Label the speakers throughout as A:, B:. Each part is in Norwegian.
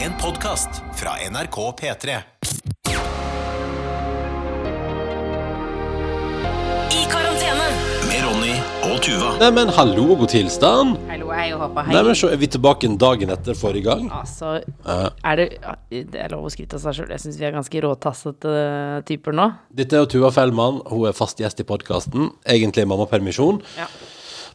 A: En podcast fra NRK P3.
B: I karantene.
A: Med Ronny og Tuva.
C: Neimen, hallo og god tilstand.
D: Hallo, hei og håper hei.
C: Neimen, så er vi tilbake en dagen etter forrige gang.
D: altså, er det, det er lov å skryte av seg sjøl. Jeg syns vi er ganske råtassete eh, typer nå.
C: Dette er jo Tuva Fellmann. Hun er fast gjest i podkasten. Egentlig mammapermisjon.
D: Ja.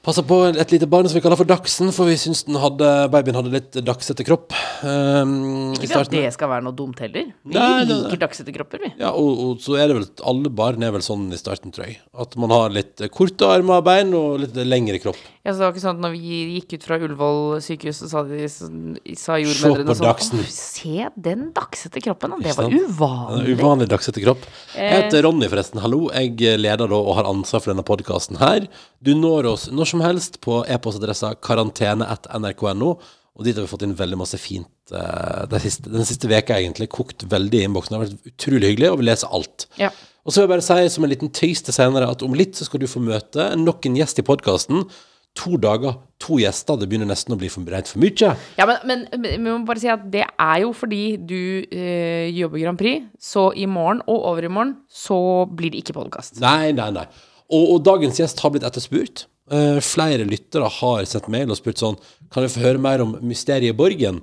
C: Passer på et lite barn som vi kaller for Dachsen, for vi syns den hadde, babyen hadde litt dagsete kropp. Um, i
D: Ikke at
C: starten.
D: det skal være noe dumt heller. Vi
C: Nei, nei, nei.
D: liker dagsete kropper, vi.
C: Ja, og, og så er det vel Alle barn er vel sånn i starten, tror jeg. At man har litt korte armer og bein og litt lengre kropp.
D: Ja, så det var ikke sånn at når vi gikk ut fra Ullevål sykehus, så sa, de, sånn-
C: Se
D: sa
C: på
D: jordmødrene sånn
C: Dagsen.
D: «Åh, Se den dagsete kroppen, da. Det
C: Ikke
D: var
C: sant?
D: uvanlig. Eh.
C: Uvanlig dagsete kropp. Jeg heter Ronny, forresten. Hallo. Jeg leder da og har ansvar for denne podkasten her. Du når oss når som helst på e-postadressa karantene.nrk.no. Og dit har vi fått inn veldig masse fint eh, den siste, den siste veka egentlig. Kokt veldig i innboksen. Det har vært utrolig hyggelig, og vi leser alt.
D: Ja.
C: Og så vil jeg bare si som en liten tøys til senere at om litt så skal du få møte nok en gjest i podkasten. To dager, to gjester. Det begynner nesten å bli for, rent for mye.
D: Ja, men, men, men vi må bare si at det er jo fordi du eh, jobber Grand Prix, så i morgen og over i morgen så blir det ikke podkast.
C: Nei, nei, nei. Og, og dagens gjest har blitt etterspurt. Eh, flere lyttere har sendt mail og spurt sånn Kan vi få høre mer om mysteriet Borgen?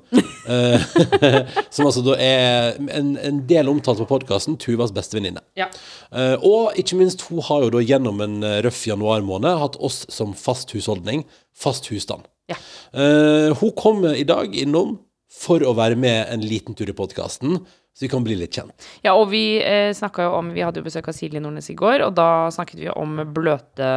C: Eh, som altså da er en, en del omtalt på podkasten Tuvas beste venninne.
D: Ja.
C: Eh, og ikke minst, hun har jo da gjennom en eh, røff januarmåned hatt oss som fast husholdning, fast husstand.
D: Ja.
C: Eh, hun kom i dag innom for å være med en liten tur i podkasten, så vi kan bli litt kjent.
D: Ja, og vi eh, snakka jo om Vi hadde jo besøk av Silje Nordnes i går, og da snakket vi om bløte,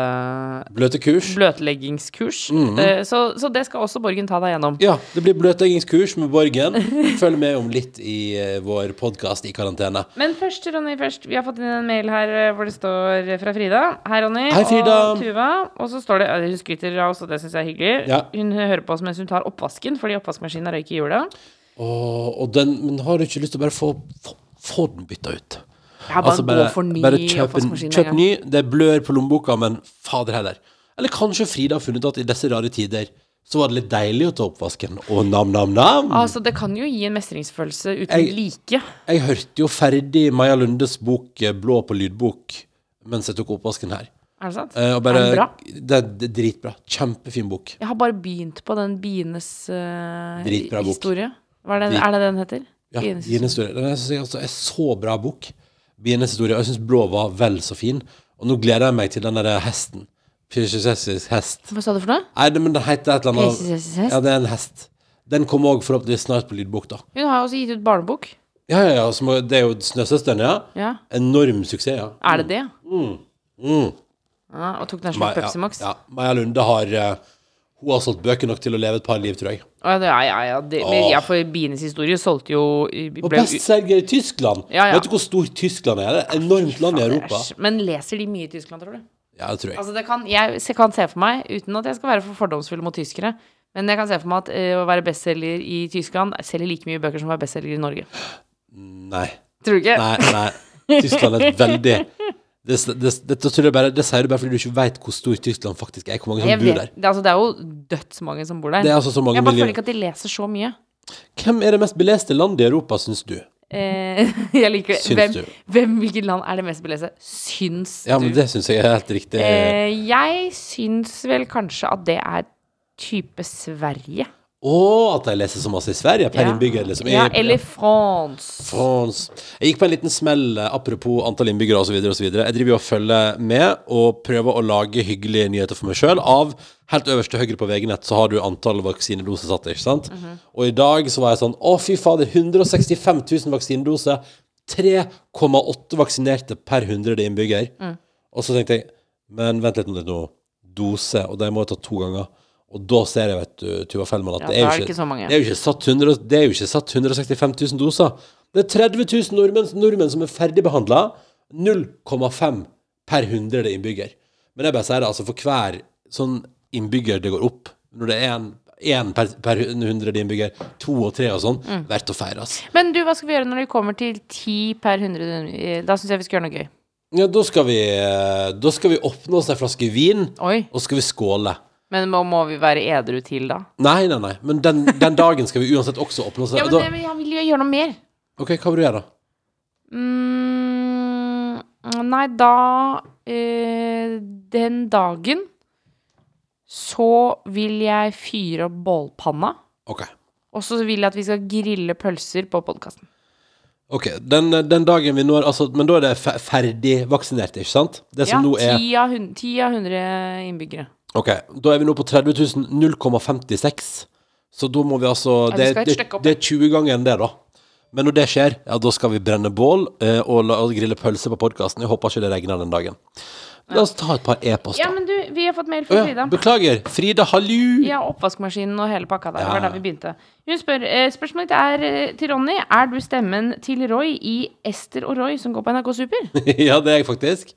C: Bløte kurs.
D: bløtleggingskurs.
C: Mhm.
D: eh, så, så det skal også Borgen ta deg gjennom.
C: Ja, det blir bløtleggingskurs med Borgen. Følg med om litt i eh, vår podkast i karantene.
D: Men først, Ronny, først. Vi har fått inn en mail her eh, hvor det står eh, fra Frida. Hei, Ronny.
C: Hei, Frida.
D: Og Tuva. Og så står det eh, Hun skryter av oss, og det syns jeg er hyggelig.
C: Ja.
D: Hun hører på oss mens hun tar oppvasken, fordi oppvaskmaskinen røyker i hjula.
C: Og, og den, men har du ikke lyst til å bare få, få, få den bytta ut? Altså,
D: Ja, bare gå for ny
C: bare kjøp, en,
D: oppvaskmaskin med
C: kjøp
D: en
C: ny. Det blør på lommeboka, men fader heller. Eller kanskje Frida har funnet ut at i disse rare tider så var det litt deilig å ta oppvasken. Og nam-nam-nam!
D: Altså, det kan jo gi en mestringsfølelse uten
C: Mm. Jeg-
D: like.
C: Jeg hørte jo ferdig Maja Lundes bok eh, Blå på lydbok mens jeg tok oppvasken her.
D: Er det sant?
C: Eh, Og
D: Er
C: bare,
D: den bra?
C: det, det er dritbra. Kjempefin bok.
D: Jeg har bare begynt på den bienes eh,
C: Dritbra bok.
D: historie. Hva er, den,
C: Drit-
D: er det den heter?
C: Ja,
D: Bienes
C: Bienes historie. Den synes jeg altså er så bra bok. Bienes historie. Og jeg syns Blå var vel så fin. Og nå gleder jeg meg til den derre hesten. Prinsesses hest.
D: historie. Hva sa du for noe?
C: Nei, det- men det heter et eller annet
D: Prinsesses hest?
C: Ja, det er en hest. Den kommer òg forhåpentligvis snart på lydbok, da.
D: Hun har jo også gitt ut barnebok.
C: Ja, ja, ja. som- Det er jo Snøsøsteren, ja.
D: Ja.
C: Enorm suksess, ja.
D: Er det det?
C: Mm.
D: Ja, og tok den som
C: Ma-
D: Pepsi Max?
C: Ja,
D: Ja,
C: ja. Maja Lunde har eh, Hun har solgt bøker nok til å leve et par liv, tror jeg.
D: ja, ja. ja, Det, men,
C: Åh.
D: ja for bienes historie solgte jo ble,
C: Og bestselger i Tyskland.
D: Ja, ja.
C: Vet du hvor stort Tyskland er? Det er et enormt land i Europa.
D: Æsj, Men leser de mye i Tyskland, tror du?
C: Ja, det tror jeg.
D: Altså, det kan, jeg se- kan se for meg, uten at jeg skal være for fordomsfull mot tyskere, men jeg kan se for meg at eh, å være bestselger i Tyskland selger like mye bøker som å være bestselger i Norge.
C: Nei.
D: Tror du ikke?
C: Nei, nei. Tyskland er et veldig det, det, det, dette tror jeg bare, det sier du bare fordi du ikke vet hvor stor Tyskland faktisk er. Hvor mange
D: Jeg
C: som bor
D: vet,
C: der.
D: det, er altså, det er jo dødsmange som bor der.
C: Det er altså så mange
D: jeg bare føler
C: millioner.
D: ikke at de leser så mye.
C: Hvem er det mest beleste landet i Europa, syns du?
D: Eh, jeg liker det.
C: Syns
D: Hvem,
C: du?
D: hvem, hvilket land er det mest beleste? Syns
C: Ja, men
D: du?
C: Det syns jeg er helt riktig.
D: Eh, jeg syns vel kanskje at det er type Sverige.
C: Å, at de leser så masse i Sverige per
D: Ja.
C: innbygger, liksom.
D: Ja,
C: Jeg-
D: eller France.
C: France. Jeg gikk på en liten smell eh, apropos antall innbyggere osv. Jeg driver jo og følger med og prøver å lage hyggelige nyheter for meg sjøl. Av helt øverst til høyre på VG-nett så har du antall vaksinedoser satt. ikke sant?
D: Mhm.
C: Og i dag så var jeg sånn Å, fy fader. 165 000 vaksinedoser. 3,8 vaksinerte per 100 innbygger.
D: Mm.
C: Og så tenkte jeg Men vent litt nå, litt nå. Dose. Og de må jeg ta to ganger. Og da ser jeg, vet du, Tuva Fellmann, at
D: Ja,
C: det er jo
D: da er det ikke så mange.
C: det er jo ikke satt, 100, det er jo ikke satt 165 000 doser. Det er 30 000 nordmenn, nordmenn som er ferdigbehandla. 0,5 per 100 innbygger. Men jeg bare sier det, altså for hver sånn innbygger det går opp Når det er én per, per 100 innbygger, to og tre og sånn,
D: Mm.
C: verdt å feire, altså.
D: Men du, hva skal vi gjøre når det kommer til 10 per 100? Eh, Da syns jeg vi skal gjøre noe gøy.
C: Ja, da skal vi Da skal vi åpne oss ei flaske vin,
D: Oi.
C: og så skal vi skåle.
D: Men må, må vi være edru til da?
C: Nei, nei, nei. Men den, den dagen skal vi uansett også oppnå oss.
D: Ja, men
C: Da-
D: jeg, jeg vil jo gjøre noe mer.
C: OK, hva vil du gjøre, da?
D: Mm, nei, da eh, Den dagen så vil jeg fyre opp bålpanna.
C: OK.
D: Og så vil jeg at vi skal grille pølser på podkasten.
C: Ok, den, den dagen vi når altså, Men da er det fe- ferdig vaksinert, ikke sant? Det
D: Ja,
C: som nå er
D: ti av hun- ti av 100 innbyggere.
C: Ok, da er vi nå på 30 0,56 Så da må vi altså
D: Ja, vi
C: det,
D: skal et
C: det,
D: stykke opp,
C: det er 20 ganger enn det da Men når det skjer, ja da skal vi brenne bål eh, Og, la, og grille pølse på podcasten Jeg håper ikke det regner den dagen La oss ta et par e-poster
D: Ja, men du, vi har fått mail
C: Å
D: fra
C: ja,
D: Frida.
C: Beklager, Frida, hallo
D: Ja, oppvaskmaskinen og hele pakka der. Det
C: Ja,
D: var
C: ja.
D: der vi begynte. Hun spør, eh, spørsmålet ditt er eh, til Ronny. Er du stemmen til Roy i Ester og Roy som går på NRK Super?
C: ja, det er jeg faktisk.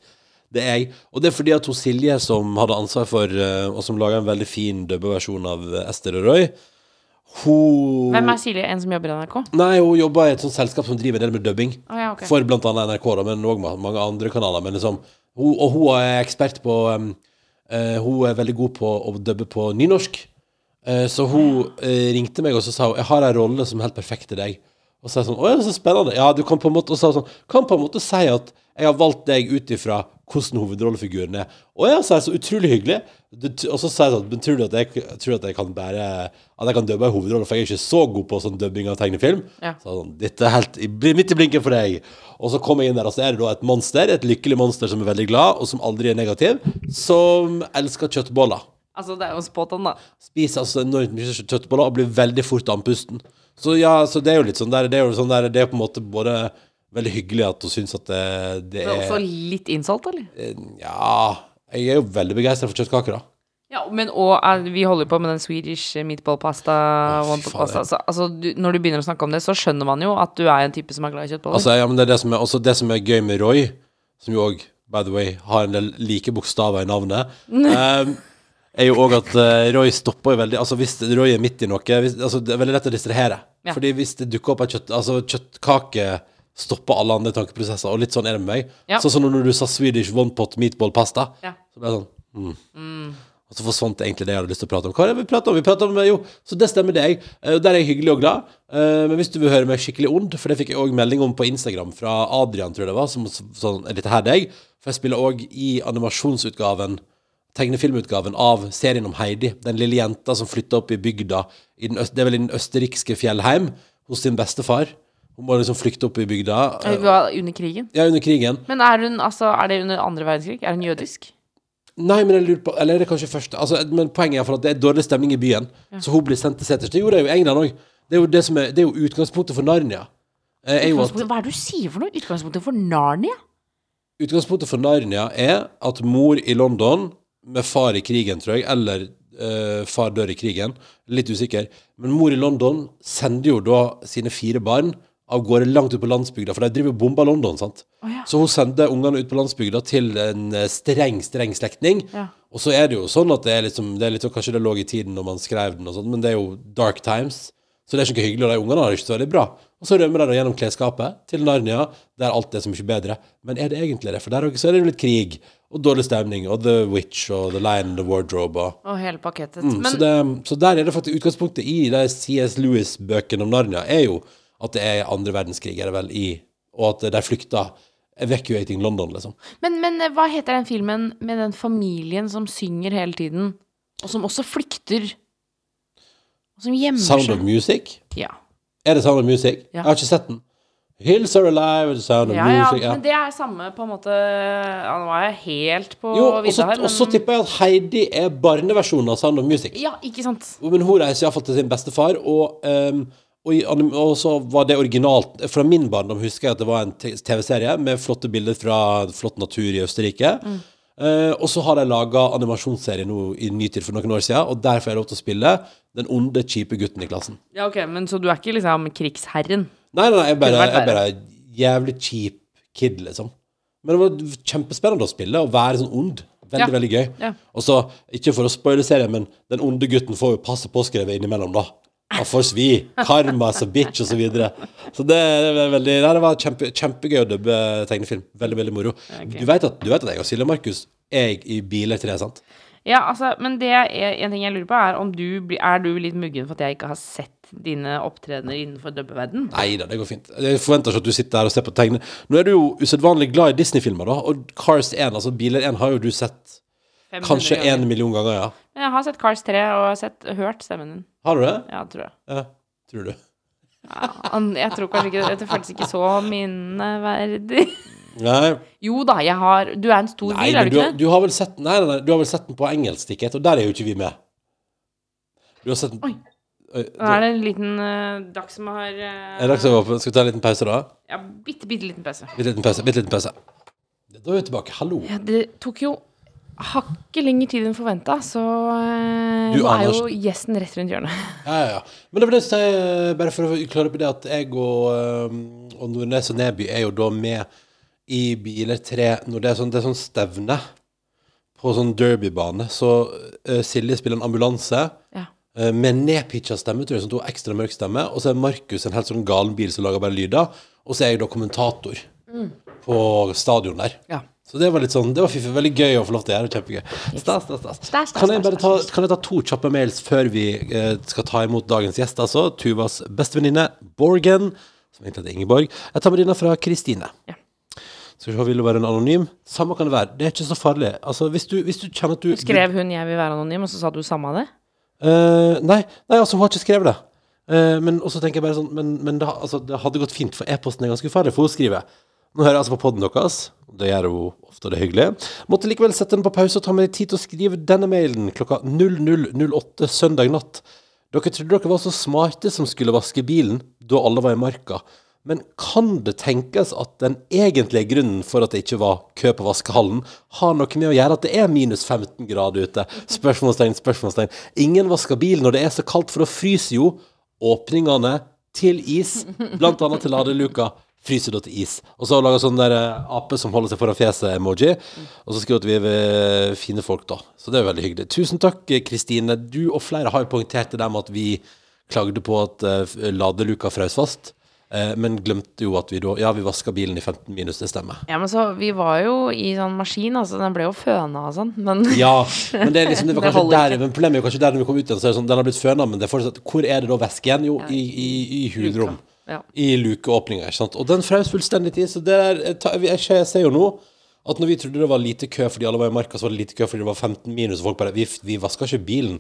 C: Det er jeg. Og det er fordi at hun Silje, som hadde ansvar for eh, Og som laga en veldig fin dubbeversjon av eh, Ester og Roy, hun
D: Hvem er Silje? En som jobber i NRK?
C: Nei, hun jobber i et sånt selskap som driver en del med dubbing.
D: Å ja, ok.
C: For blant annet NRK, da, men òg mange andre kanaler. Men liksom, hun, og hun er ekspert på um, eh, Hun er veldig god på å dubbe på nynorsk. Eh, så hun eh, ringte meg og så sa hun, jeg har ei rolle som er helt perfekt til deg. Og så er jeg sånn, å ja, så spennende. Ja, du kan på en måte og så sa hun sånn, kan på en måte si at jeg har valgt deg ut ifra hvordan hovedrollefiguren er. Å ja, så er det så utrolig hyggelig. Du, t- og så sa jeg sånn, men tror du at jeg, tror du at jeg kan bære At jeg kan dubbe ei hovedrolle, for jeg er ikke så god på sånn dubbing av tegnefilm.
D: Ja.
C: Så sånn, dette er helt i, bli- midt i blinken for deg. Og så kommer jeg inn der, og så er det da et monster, et lykkelig monster som er veldig glad, og som aldri er negativ, som elsker kjøttboller.
D: Altså, det er jo spot on, da.
C: Spiser altså enormt mye kjø- kjøttboller og blir veldig fort andpusten. Så ja, så det er jo litt sånn der, det er jo sånn der, det er på en måte både veldig hyggelig at hun syns at det, det
D: Det er også
C: er
D: litt innsalt, eller?
C: Ja, jeg er jo veldig begeistra for kjøttkaker, da.
D: Ja, men og eh, vi holder på med den Swedish meatball pasta,
C: fy
D: wonton
C: faen,
D: pasta. Så, altså, du, når du begynner å snakke om det, så skjønner man jo at du er en type som er glad i kjøttboller.
C: Altså, ja, men det er det som er, også det som er gøy med Roy, som jo òg, by the way, har en del like bokstaver i navnet, ehm, er jo òg at eh, Roy stopper jo veldig Altså, hvis Roy er midt i noe hvis, altså, Det er veldig lett å distrahere.
D: Ja.
C: Fordi hvis det dukker opp en kjøtt, altså, kjøttkake stopper alle andre tankeprosesser, og litt sånn er det med meg.
D: Ja.
C: Sånn som når du sa Swedish one pot meatball pasta.
D: Ja.
C: Så ble jeg sånn mm. Og så forsvant egentlig det jeg hadde lyst til å prate om. Hva er det vi prater om? Vi prater om, eh, jo, Så det stemmer, det er jeg. Eh, og Der er jeg hyggelig og glad. Eh, Men hvis du vil høre meg skikkelig ond, for det fikk jeg òg melding om på Instagram fra Adrian, tror jeg det var, som s- sånn, er dette her deg? For jeg spiller òg i animasjonsutgaven, tegnefilmutgaven av serien om Heidi. Den lille jenta som flytta opp i bygda, i den øst, det er vel i den østerrikske fjellheim, hos sin bestefar. Hun må liksom flykte opp i bygda.
D: Eh,
C: eh,
D: vi var under krigen.
C: Ja, under krigen.
D: Men er hun, altså, er det under andre verdenskrig? Er hun jødisk?
C: Nei, men jeg lurer på Eller er det kanskje første altså, Men poenget er for at det er dårlig stemning i byen Så hun blir sendt til seters Det gjorde jeg jo i England også Det er jo, det som er, det er jo utgangspunktet for Narnia eh, er jo at,
D: Hva er det du sier for noe? Utgangspunktet for Narnia?
C: Utgangspunktet for Narnia er at mor i London Med far i krigen, tror jeg Eller eh, far dør i krigen Litt usikker Men mor i London sender jo da sine fire barn Av gårde langt ut på landsbygda For de driver og bomber London, sant?
D: Å ja.
C: Så hun sender ungene ut på landsbygda til en eh, streng, streng slektning.
D: Ja.
C: Og så er det jo sånn at det er liksom, det er litt, sånn- Kanskje det lå i tiden når man skrev den, og sånt, men det er jo dark times. Så det er ikke noe hyggelig, og de ungene har det ikke så veldig bra. Og så rømmer de da gjennom klesskapet til Narnia, der alt er så mye bedre. Men er det egentlig det? For der også er det jo litt krig, og dårlig stemning, og The Witch, og The Lion, and The Wardrobe, og Mm,
D: Og hele pakketet.
C: så,
D: Men
C: det, så der er det faktisk utgangspunktet i de C.S. Lewis-bøkene om Narnia, er jo at det er andre verdenskrig, er det vel, i, og at de flykta. Evacuating London, liksom.
D: Men, men eh, hva heter den filmen med den familien som synger hele tiden, og som også flykter? Og som gjemmer
C: Sound of
D: seg?
C: Music?
D: Ja.
C: Er det Sound of Music?
D: Ja.
C: Jeg har ikke sett den. Hills Are Alive, The Sound of
D: Ja, ja,
C: Music ja.
D: men det er samme på en måte ja, Nå er jeg helt på
C: Jo, og så-
D: vidda her,
C: Og så tipper jeg at Heidi er barneversjonen av Sound of Music.
D: Ja, ikke sant?
C: Men hun reiser iallfall til sin bestefar, og, ehm, og, i anim- og så var det originalt. Fra min barndom husker jeg at det var en t- TV-serie med flotte bilder fra flott natur i Østerrike. Eh, og så har de laga animasjonsserie nå i ny tid for noen år siden, og der får jeg lov til å spille den onde, kjipe gutten i klassen.
D: Ja, ok, men Så du er ikke liksom krigsherren?
C: Nei, nei, nei jeg bare,
D: Kunne vært
C: jeg bare jævlig kjip kid, liksom. Men det var kjempespennende å spille og være sånn ond. Veldig,
D: Ja.
C: veldig gøy.
D: Ja.
C: Og så, ikke for å spoile serien, men den onde gutten får jo passe påskrevet innimellom, da. Han får svi. Karma as a bitch, og så videre. Så det, det var veldig Nei, det var kjempe, kjempegøy å dubbe tegnefilm. Veldig, veldig moro. Du vet at, du vet at jeg og Silje Markus er i biler til det, sant?
D: Ja, altså, men det er en ting jeg lurer på, er om du blir- er du litt muggen for at jeg ikke har sett dine opptredener innenfor dubbeverden?
C: Nei da, det går fint. Jeg forventer ikke at du sitter her og ser på tegnene. Nå er du jo usedvanlig glad i Disney-filmer, da. Og Cars 1, altså Biler 1, har jo du sett
D: 500
C: Ah, kanskje
D: ganger.
C: en million ganger, ja.
D: Men jeg har sett Cars 3 og jeg har sett, hørt stemmen din.
C: Har du det?
D: Ja, tror jeg.
C: Ja, tror du.
D: Ja, an- jeg tror kanskje ikke Dette føltes ikke så minneverdig.
C: Nei,
D: Jo da, jeg har Du er en stor
C: nei
D: bil, er
C: men
D: du
C: du,
D: ikke det?
C: du, har vel sett, nei, nei, nei, du har vel sett den på engelsk, ikke? Og der er jo ikke vi med. Du har sett den
D: Oi.
C: Oi,
D: Nå er det en liten uh, dag som har eh,
C: Er det også åpen? Skal vi ta en liten pause, da?
D: Ja, bitte, bitte liten pause.
C: Bitte liten pause. Bitte liten pause. Da er vi tilbake. Hallo.
D: Ja, det tok jo hakket lengre tid enn forventa, så eh,
C: Du,
D: nå er jo
C: Anders-
D: gjesten rett rundt hjørnet.
C: Ja, ja, ja. Men det var det jeg skulle si, bare for å klare opp i det, at jeg og, um, og Nordnes og Neby er jo da med i biler tre når det er sånn, det er sånn stevne på sånn derbybane. Så eh, Silje spiller en ambulanse.
D: Ja.
C: eh, Med nedpitcha stemme, tror jeg, sånn to ekstra mørk stemme. Og så er Markus en helt sånn galen bil som lager bare lyder. Og så er jeg da kommentator på stadion der.
D: Mm. Ja.
C: Så det var litt sånn, det var fiffig. Veldig gøy å få lov til å gjøre. Kjempegøy. Stas, stas,
D: stas,
C: stas. Kan jeg
D: stas,
C: bare ta, kan jeg ta to kjappe mails før vi eh, skal ta imot dagens gjest, altså? Tuvas bestevenninne Borgen, som egentlig heter Ingeborg. Jeg tar med denne fra Kristine.
D: Ja.
C: Skal vi se, vil du være en anonym? Samme kan det være. Det er ikke så farlig. Altså, hvis du, hvis du kjenner at du
D: Skrev hun 'jeg vil være anonym', og så sa du samme av det?
C: Eh, nei, nei, altså, hun har ikke skrevet det. Eh, men også tenker jeg bare sånn Men, men det, ha- altså, det hadde gått fint, for e-posten er ganske ufarlig, for hun skriver Nå hører jeg altså på podden deres. Det gjør hun ofte, og det er hyggelig. Måtte likevel sette den på pause og ta meg tid til å skrive denne mailen klokka 00.08 søndag natt. Dere trodde dere var så smarte som skulle vaske bilen da alle var i marka. Men kan det tenkes at den egentlige grunnen for at det ikke var kø på vaskehallen, har noe med å gjøre at det er minus 15 grader ute? Spørsmålstegn, spørsmålstegn. Ingen vasker bil når det er så kaldt, for da fryser jo åpningene til is, blant annet til ladeluka. Fryser da til is. Og så har hun laga sånn der eh, ape som holder seg foran fjeset-emoji. Og så skriver hun at vi er eh, fine folk, da. Så det er jo veldig hyggelig. Tusen takk, eh, Kristine. Du og flere har jo poengtert det der med at vi klagde på at eh, f- ladeluka frøs fast. Eh, men glemte jo at vi da Ja, vi vaska bilen i 15 minus, det stemmer.
D: Ja, men så Vi var jo i sånn maskin, altså. Den ble jo føna og sånn, men
C: Ja, men det er liksom det var
D: Det
C: kanskje
D: holder
C: der Men problemet er jo kanskje der når vi kom ut igjen, så er det sånn Den har blitt føna, men det er fortsatt Hvor er det da væske igjen? Jo, i, i, i hulrom.
D: Ja.
C: I lukeåpninga, ikke sant. Og den frøs fullstendig til, så det der jeg, tar- jeg, jeg ser jo nå at når vi trodde det var lite kø fordi alle var i marka, så var det lite kø fordi det var 15 minus, og folk bare Vi, vi vasker ikke bilen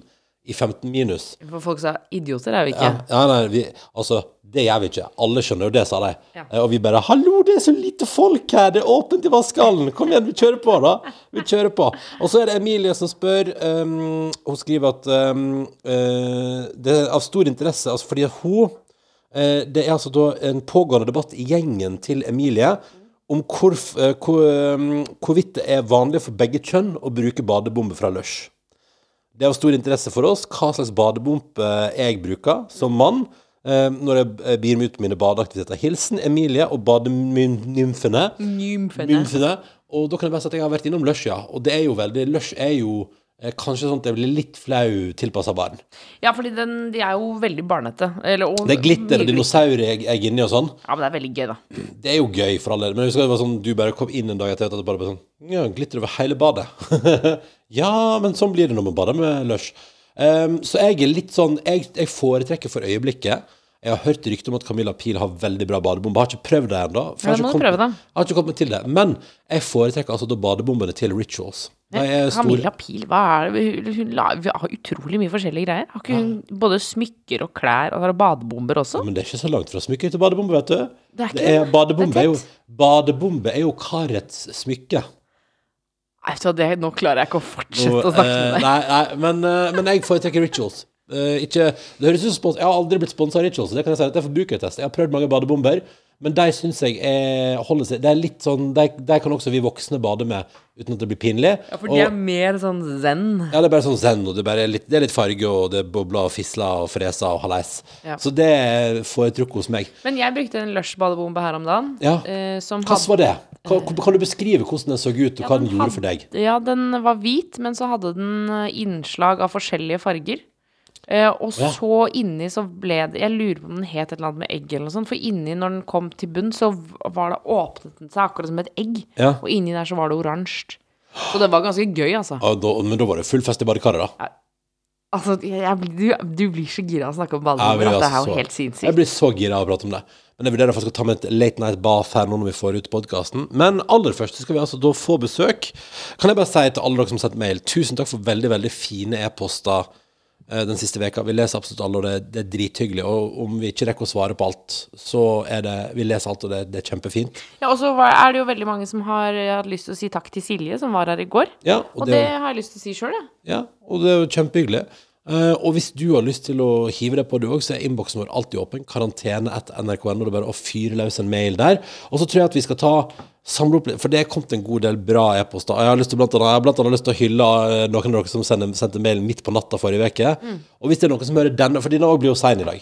C: i 15 minus.
D: For folk sa 'idioter' er vi ikke.
C: Ja, ja nei, vi, altså, det gjør vi ikke. Alle skjønner jo det, sa de.
D: Ja.
C: Eh, Og vi bare 'Hallo, det er så lite folk her! Det er åpent i vaskehallen! Kom igjen, vi kjører på, da!' Vi kjører på. Og så er det Emilie som spør ehm, Hun skriver at ehm, eh, det er av stor interesse, altså fordi hun eh, Det er altså da en pågående debatt i gjengen til Emilie om hvor, f- eh, hvor, ehm, hvorvidt det er vanlig for begge kjønn å bruke badebombe fra lush. Det er av stor interesse for oss hva slags badebombe jeg bruker som mann eh, når jeg eh, bier meg ut på mine badeaktiviteter. Hilsen Emilie og bademymfene.
D: Nymfene.
C: Mymfene. Og da kan jeg bare si at jeg har vært innom Lush, ja. Og det er jo veldig Lush er jo eh, kanskje sånn at jeg blir litt flau tilpassa barn.
D: Ja, fordi den, de er jo veldig barnete. Eller, og,
C: Det er glitter og
D: mye glitter.
C: dinosaurer jeg, jeg er inni og sånn.
D: Ja, men det er veldig gøy, da.
C: Det er jo gøy for alle. Men jeg husker det var sånn, du bare kom inn en dag etter at det bare ble sånn Ja, glitter over hele badet. ja, men sånn blir det når man bader med lush. Ehm, så jeg er litt sånn jeg, jeg foretrekker for øyeblikket Jeg har hørt rykter om at Camilla Pil har veldig bra badebombe. Har ikke prøvd det ennå. for jeg har ikke
D: Ja, da må du
C: kommet-
D: prøve det.
C: Jeg har ikke kommet til det. Men jeg foretrekker altså da badebombene til rituals. De er store-
D: Camilla Pil, hva er det Hun, hun, la- hun har utrolig mye forskjellige greier. Har ikke hun både smykker og klær og har badebomber også?
C: Men det er ikke så langt fra smykke til badebombe, vet du.
D: Det er ikke det.
C: badebombe,
D: Det er
C: er jo, badebombe er jo karets smykke.
D: Nei, vet du hva, det, nå klarer jeg ikke å fortsette
C: Og,
D: å snakke
C: eh,
D: med deg.
C: Nei, nei men, eh, men jeg foretrekker rituals. Eh, ikke, det høres ut som spons Jeg har aldri blitt sponsa av rituals. Det kan jeg si at det er forbrukertest. Jeg har prøvd mange badebomber, men de syns jeg er, holder seg Det er litt sånn De, de kan også vi voksne bade med uten at det blir pinlig.
D: Ja, for
C: Og-
D: de er mer sånn zen.
C: ja, det er bare sånn zen, og det er, bare litt, det er litt farge, og det bobler og fisler og freser og hallais.
D: Ja.
C: Så det foretrukker hos meg.
D: Men jeg brukte en lush-badebombe her om dagen.
C: Ja.
D: eh, som
C: Hvordan var det? Kan, kan du beskrive hvordan den så ut, og hva den gjorde for deg?
D: hadde- Ja, den var hvit, men så hadde den eh, innslag av forskjellige farger. Eh, og
C: ja.
D: så inni så ble det Jeg lurer på om den het et eller annet med egg eller noe sånt. For inni, når den kom til bunn, så v- var det åpnet den seg akkurat som et egg.
C: Ja.
D: Og inni der så var det oransje. Så det var ganske gøy, altså.
C: Ja, da, men da var det full fest i badekaret, da.
D: altså jeg, jeg, du, du blir så gira av å snakke om
C: Jeg blir
D: badenummer at det
C: altså
D: er
C: så-
D: jo helt
C: Jeg
D: sinnssykt.
C: blir så gira av å prate om det. Men jeg vurderer faktisk å ta med et late night bath her nå når vi får ut podkasten. Men aller først skal vi altså da få besøk. Kan jeg bare si til alle dere som har sendt mail, tusen takk for veldig, veldig fine e-poster eh, den siste veka. Vi leser absolutt alle, og det, det er drithyggelig. Og om vi ikke rekker å svare på alt, så er det Vi leser alt, og det, det er kjempefint.
D: Ja, og så var- er det jo veldig mange som har eh, hatt lyst til å si takk til Silje, som var her i går.
C: Ja,
D: Og det har jeg lyst til å si sjøl, jeg.
C: Ja, og det er jo kjempehyggelig. Eh, og hvis du har lyst til å hive deg på du òg, så er innboksen vår alltid åpen. Karantene etter nrk.no. Det er bare å fyre løs en mail der. Og så tror jeg at vi skal ta samle opp litt, for det er kommet en god del bra e-poster. Jeg har lyst til blant annet, jeg har blant annet lyst til å hylle eh, noen av dere som sender, sendte mail midt på natta forrige uke. Og hvis det er noen som hører denne, for denne òg blir jo sein i dag.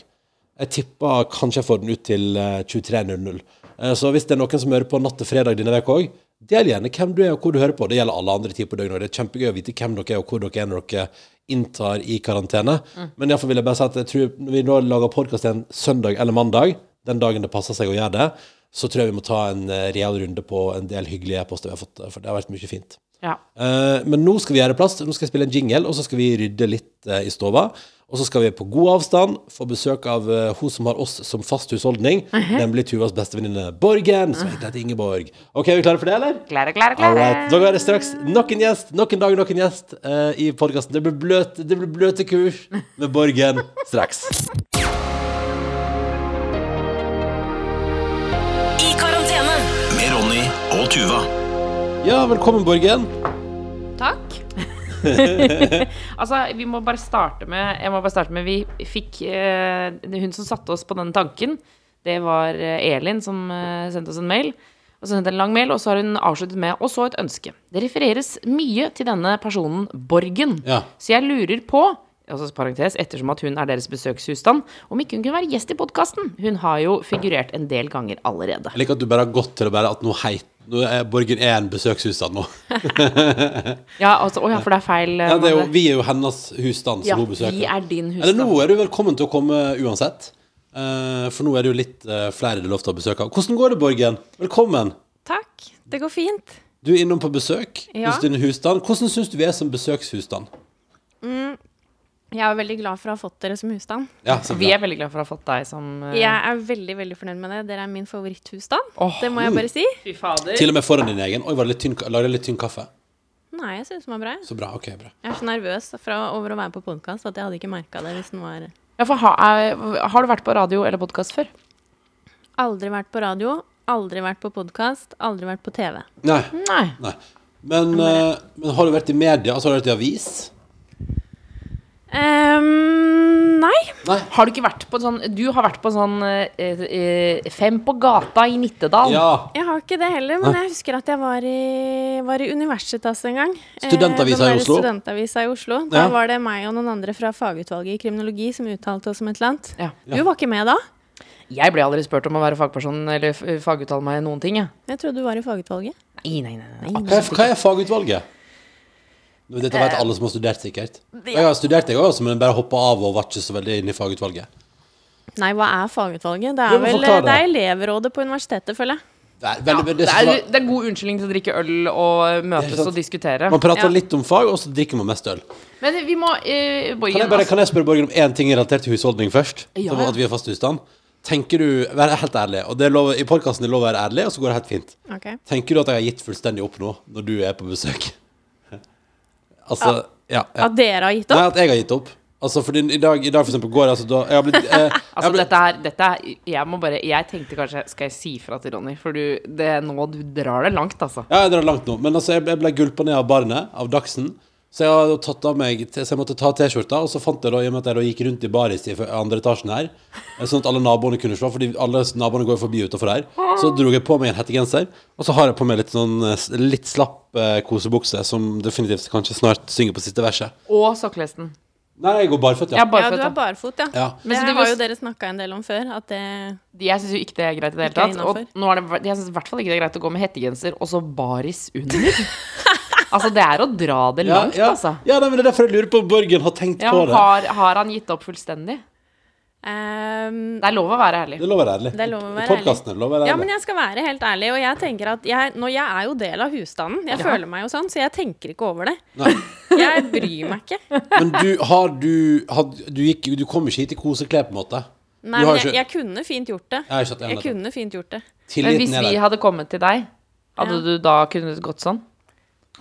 C: Jeg tipper kanskje jeg får den ut til eh, 23.00. Eh, Så hvis det er noen som hører på natt til fredag denne veka òg, del gjerne hvem du er og hvor du hører på. Det gjelder alle andre tider på døgnet. og Det er kjempegøy å vite hvem dere er og hvor dere er når dere inntar i karantene. Men iallfall vil jeg bare si at jeg tror når vi nå lager podkast igjen søndag eller mandag, den dagen det passer seg å gjøre det, så tror jeg vi må ta en eh, real runde på en del hyggelige e-poster vi har fått, eh, for det har vært mye fint.
D: Ja.
C: Eh, men nå skal vi gjøre plass. Nå skal jeg spille en jingle, og så skal vi rydde litt eh, i stova. Og så skal vi på god avstand få besøk av eh, hun som har oss som fast husholdning, nemlig Tuvas bestevenninne Borgen, som egentlig heter Ingeborg. Ok, er vi klare for det, eller?
D: Klare,
C: All
D: klare, klare.
C: right. Da er det straks nok en gjest, nok en dag, nok en gjest eh, i podkasten. Det blir bløt, det blir bløte kurs med Borgen straks.
B: I karantene.
A: Med Ronny og Tuva.
C: Ja, velkommen, Borgen.
D: Takk. altså, vi må bare starte med Jeg må bare starte med Vi fikk eh, Hun som satte oss på den tanken, det var eh, Elin som eh, sendte oss en mail. Og så sendte en lang mail, og så har hun avsluttet med Og så et ønske. Det refereres mye til denne personen Borgen.
C: Ja.
D: Så jeg lurer på, altså parentes, ettersom at hun er deres besøkshusstand, om ikke hun kunne være gjest i podkasten. Hun har jo figurert en del ganger allerede.
C: Jeg liker at du bare har gått til å bare at nå heit, nå er Borgen er en besøkshusstand nå.
D: Ja, altså, å ja, for det er feil. eh,
C: Ja, det er jo,
D: Madde.
C: vi er jo hennes husstand som
D: Ja,
C: hun besøker.
D: vi er din husstand.
C: Eller nå er du velkommen til å komme uansett. Eh, for nå er det jo litt eh, flere det er lov til å besøke. Hvordan går det, Borgen? Velkommen.
E: Takk, det går fint.
C: Du er innom på besøk
E: Ja.
C: hos din husstand. Hvordan syns du vi er som besøkshusstand?
E: Jeg er veldig glad for å ha fått dere som husstand.
C: Ja, så
D: Vi
C: bra.
D: er veldig glad for å ha fått deg som eh,
E: Jeg er veldig veldig fornøyd med det. Dere er min favoritthusstand.
D: Åh.
E: det må jeg
C: uh.
E: bare si.
D: Fy fader.
C: Til og med foran din egen. Oi, var det litt tynn, lagde jeg litt tynn kaffe?
E: Nei, jeg synes den var bra. jeg.
C: Så bra. Ok, bra.
E: Jeg er så nervøs fra, over å være på podkast at jeg hadde ikke merka det hvis den var
D: Ja, for ha, er, har du vært på radio eller podkast før?
E: Aldri vært på radio, aldri vært på podkast, aldri vært på TV.
C: Nei.
D: Nei.
C: Nei. Men, eh, men har du vært i media? Altså, har du vært i avis?
E: Ehm, nei.
C: Nei.
D: Har du ikke vært på sånn Du har vært på sånn eh, eh, Fem på gata i Nittedal.
C: Ja.
E: Jeg har ikke det heller, men jeg husker at jeg var i, var i Universitas en gang. Eh,
C: Studentavisa
E: den
C: i
E: der
C: Oslo.
E: Studentavisa i Oslo. Da
C: Ja.
E: var det meg og noen andre fra fagutvalget i kriminologi som uttalte oss om et eller annet.
D: Ja.
E: Du var ikke med da?
D: Jeg ble aldri spurt om å være fagperson eller f- faguttale meg noen ting. Jeg.
E: Jeg trodde du var i fagutvalget.
D: Nei, nei, nei, nei.
C: Hva er, hva er fagutvalget? Nå, Dette
D: Eh.
C: vet alle som har studert, sikkert. Jeg har studert, jeg også, men bare hoppa av og var ikke så veldig inne i fagutvalget.
E: Nei, hva er fagutvalget? Det
C: Ja,
E: er
C: men
E: vel
C: forklar
E: det
C: det.
E: er elevrådet på universitetet, føler jeg.
C: Det er, veldig, det
D: Det
C: er, så bra.
D: er, det er god unnskyldning til å drikke øl og
C: Det er
D: møtes
C: sant.
D: og diskutere.
C: Man prater
E: Ja.
C: litt om fag, og så drikker man mest øl.
D: Men vi må eh, Borgen
C: Kan jeg, bare,
D: altså-
C: kan jeg spørre Borgen om én ting relatert til husholdning først?
D: Ja,
C: Som
D: ja.
C: at vi er fast husstand. Tenker du, Vær helt ærlig, og det er lov, i podkasten er det lov å være ærlig, og så går det helt fint. Tenker du at jeg har gitt fullstendig opp nå, når du er på besøk? altså ja, ja.
E: At dere har gitt
C: Nei,
E: opp?
C: at jeg har gitt opp. Altså, fordi i dag, i dag for eksempel, går jeg altså da Jeg har blitt eh, jeg
D: Altså,
C: har blitt-
D: dette her dette er, Jeg må bare Jeg tenkte kanskje Skal jeg si fra til Ronny? For du Det er nå du drar det langt, altså.
C: Ja, jeg drar langt nå. Men altså, jeg jeg ble gulpa ned av barnet, av Dagsen. Så jeg har da tatt av meg, så jeg måtte ta T-skjorta, og så fant jeg da, i og med at jeg da gikk rundt i baris i andre etasjen her, sånn at alle naboene kunne se, fordi alle naboene går forbi utenfor her, så dro jeg på meg en hettegenser, og så har jeg på meg litt sånn eh, litt slapp eh, kosebukse, som definitivt kanskje snart synger på siste verset.
D: Og sokkelesten.
C: Nei, jeg går barføtt, ja.
D: Ja,
E: Ja,
D: barføtta.
E: du er barfot, ja.
C: Ja.
D: Men
E: Det
D: så det
E: har
D: var-
E: jo dere snakka en del om før. At det
D: Jeg syns jo ikke det er greit i det hele
E: Ikke
D: tatt. Og
E: innenfor.
D: nå er det, jeg syns i hvert fall ikke det er greit å gå med hettegenser og så baris under. altså, det er å dra det
C: Ja,
D: langt,
C: ja.
D: altså.
C: ja nei, men det er derfor jeg lurer på om Borgen har tenkt
D: Ja,
C: på det.
D: har, har han gitt opp fullstendig?
E: Ehm,
D: Det er lov å være ærlig.
C: Det lover ærlig.
E: Det er lov å være
C: I podcasten er det lov å være ærlig.
E: ja, men jeg skal være helt ærlig, og jeg tenker at jeg, nå, jeg er jo del av husstanden. Jeg føler meg jo sånn, så jeg tenker ikke over det.
C: Nei.
E: Jeg bryr meg ikke.
C: Men du, har du, had, du, gikk, du kom ikke hit i koseklær, på en måte?
E: Nei,
C: du
E: men
C: har
E: jeg,
C: ikke,
E: jeg kunne fint gjort det.
C: Jeg har ikke hatt det
E: Jeg
C: ennå.
E: kunne fint gjort det.
D: Men hvis
C: Tilliten er
D: vi
C: der,
D: hadde kommet til deg, hadde
E: Ja.
D: du da kunnet gått sånn?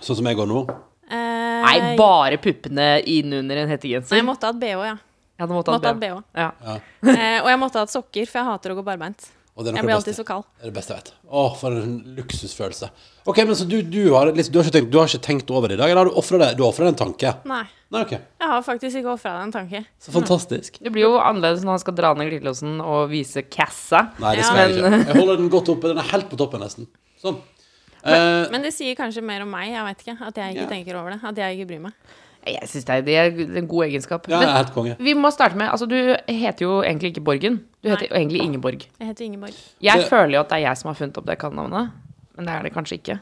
C: sånn som jeg går nå.
E: Eh,
D: Nei, bare puppene innunder en hettegenser.
E: Jeg måtte hatt bh, ja.
D: Jeg hadde måttet
E: Måtte
D: ha
E: hatt
D: BH.
E: bh.
D: Ja.
E: Eh, og jeg måtte hatt sokker, for jeg hater å gå barbeint.
C: Og det er noe
E: Jeg
C: av
E: blir
C: det
E: alltid
C: beste.
E: så kald.
C: Det er det beste jeg vet. Å, for en luksusfølelse. Ok, men Så du, du, har, liksom, du, har, ikke tenkt, du har ikke tenkt over det i dag? Eller har du ofra det? Du har ofret en tanke?
E: Nei.
C: Nei, ok.
E: Jeg har faktisk ikke ofra deg en tanke.
C: Så fantastisk.
D: Det blir jo annerledes når han skal dra ned glidelåsen og vise cassa.
C: Nei, det
E: Ja,
C: skal jeg
D: men-
C: ikke. Jeg holder den godt oppe. Den er helt på toppen, nesten. Sånn. Eh,
E: Men det sier kanskje mer om meg, jeg vet ikke. At jeg ikke
C: Ja.
E: tenker over det. At jeg ikke bryr meg.
D: Jeg synes det er, det er en god egenskap.
C: ja, jeg er
D: Men
C: helt konge.
D: vi må starte med Altså, du heter jo egentlig ikke Borgen. Du heter jo egentlig Ingeborg.
E: Jeg heter Ingeborg.
D: Jeg
C: Det-
D: føler jo at det er jeg som har funnet opp det kallenavnet, men det er det kanskje ikke.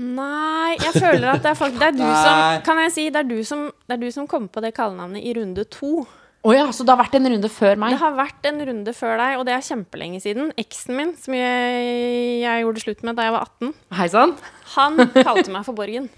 E: Nei, jeg føler at det er faktisk Det er du
C: Nei.
E: som Kan jeg si, det er du som, det er du som kom på det kallenavnet i runde to.
D: Å ja, så det har vært en runde før meg?
E: Det har vært en runde før deg, og det er kjempelenge siden. Eksen min, som jeg, jeg gjorde slutt med da jeg var 18,
D: Hei sann.
E: han kalte meg for Borgen.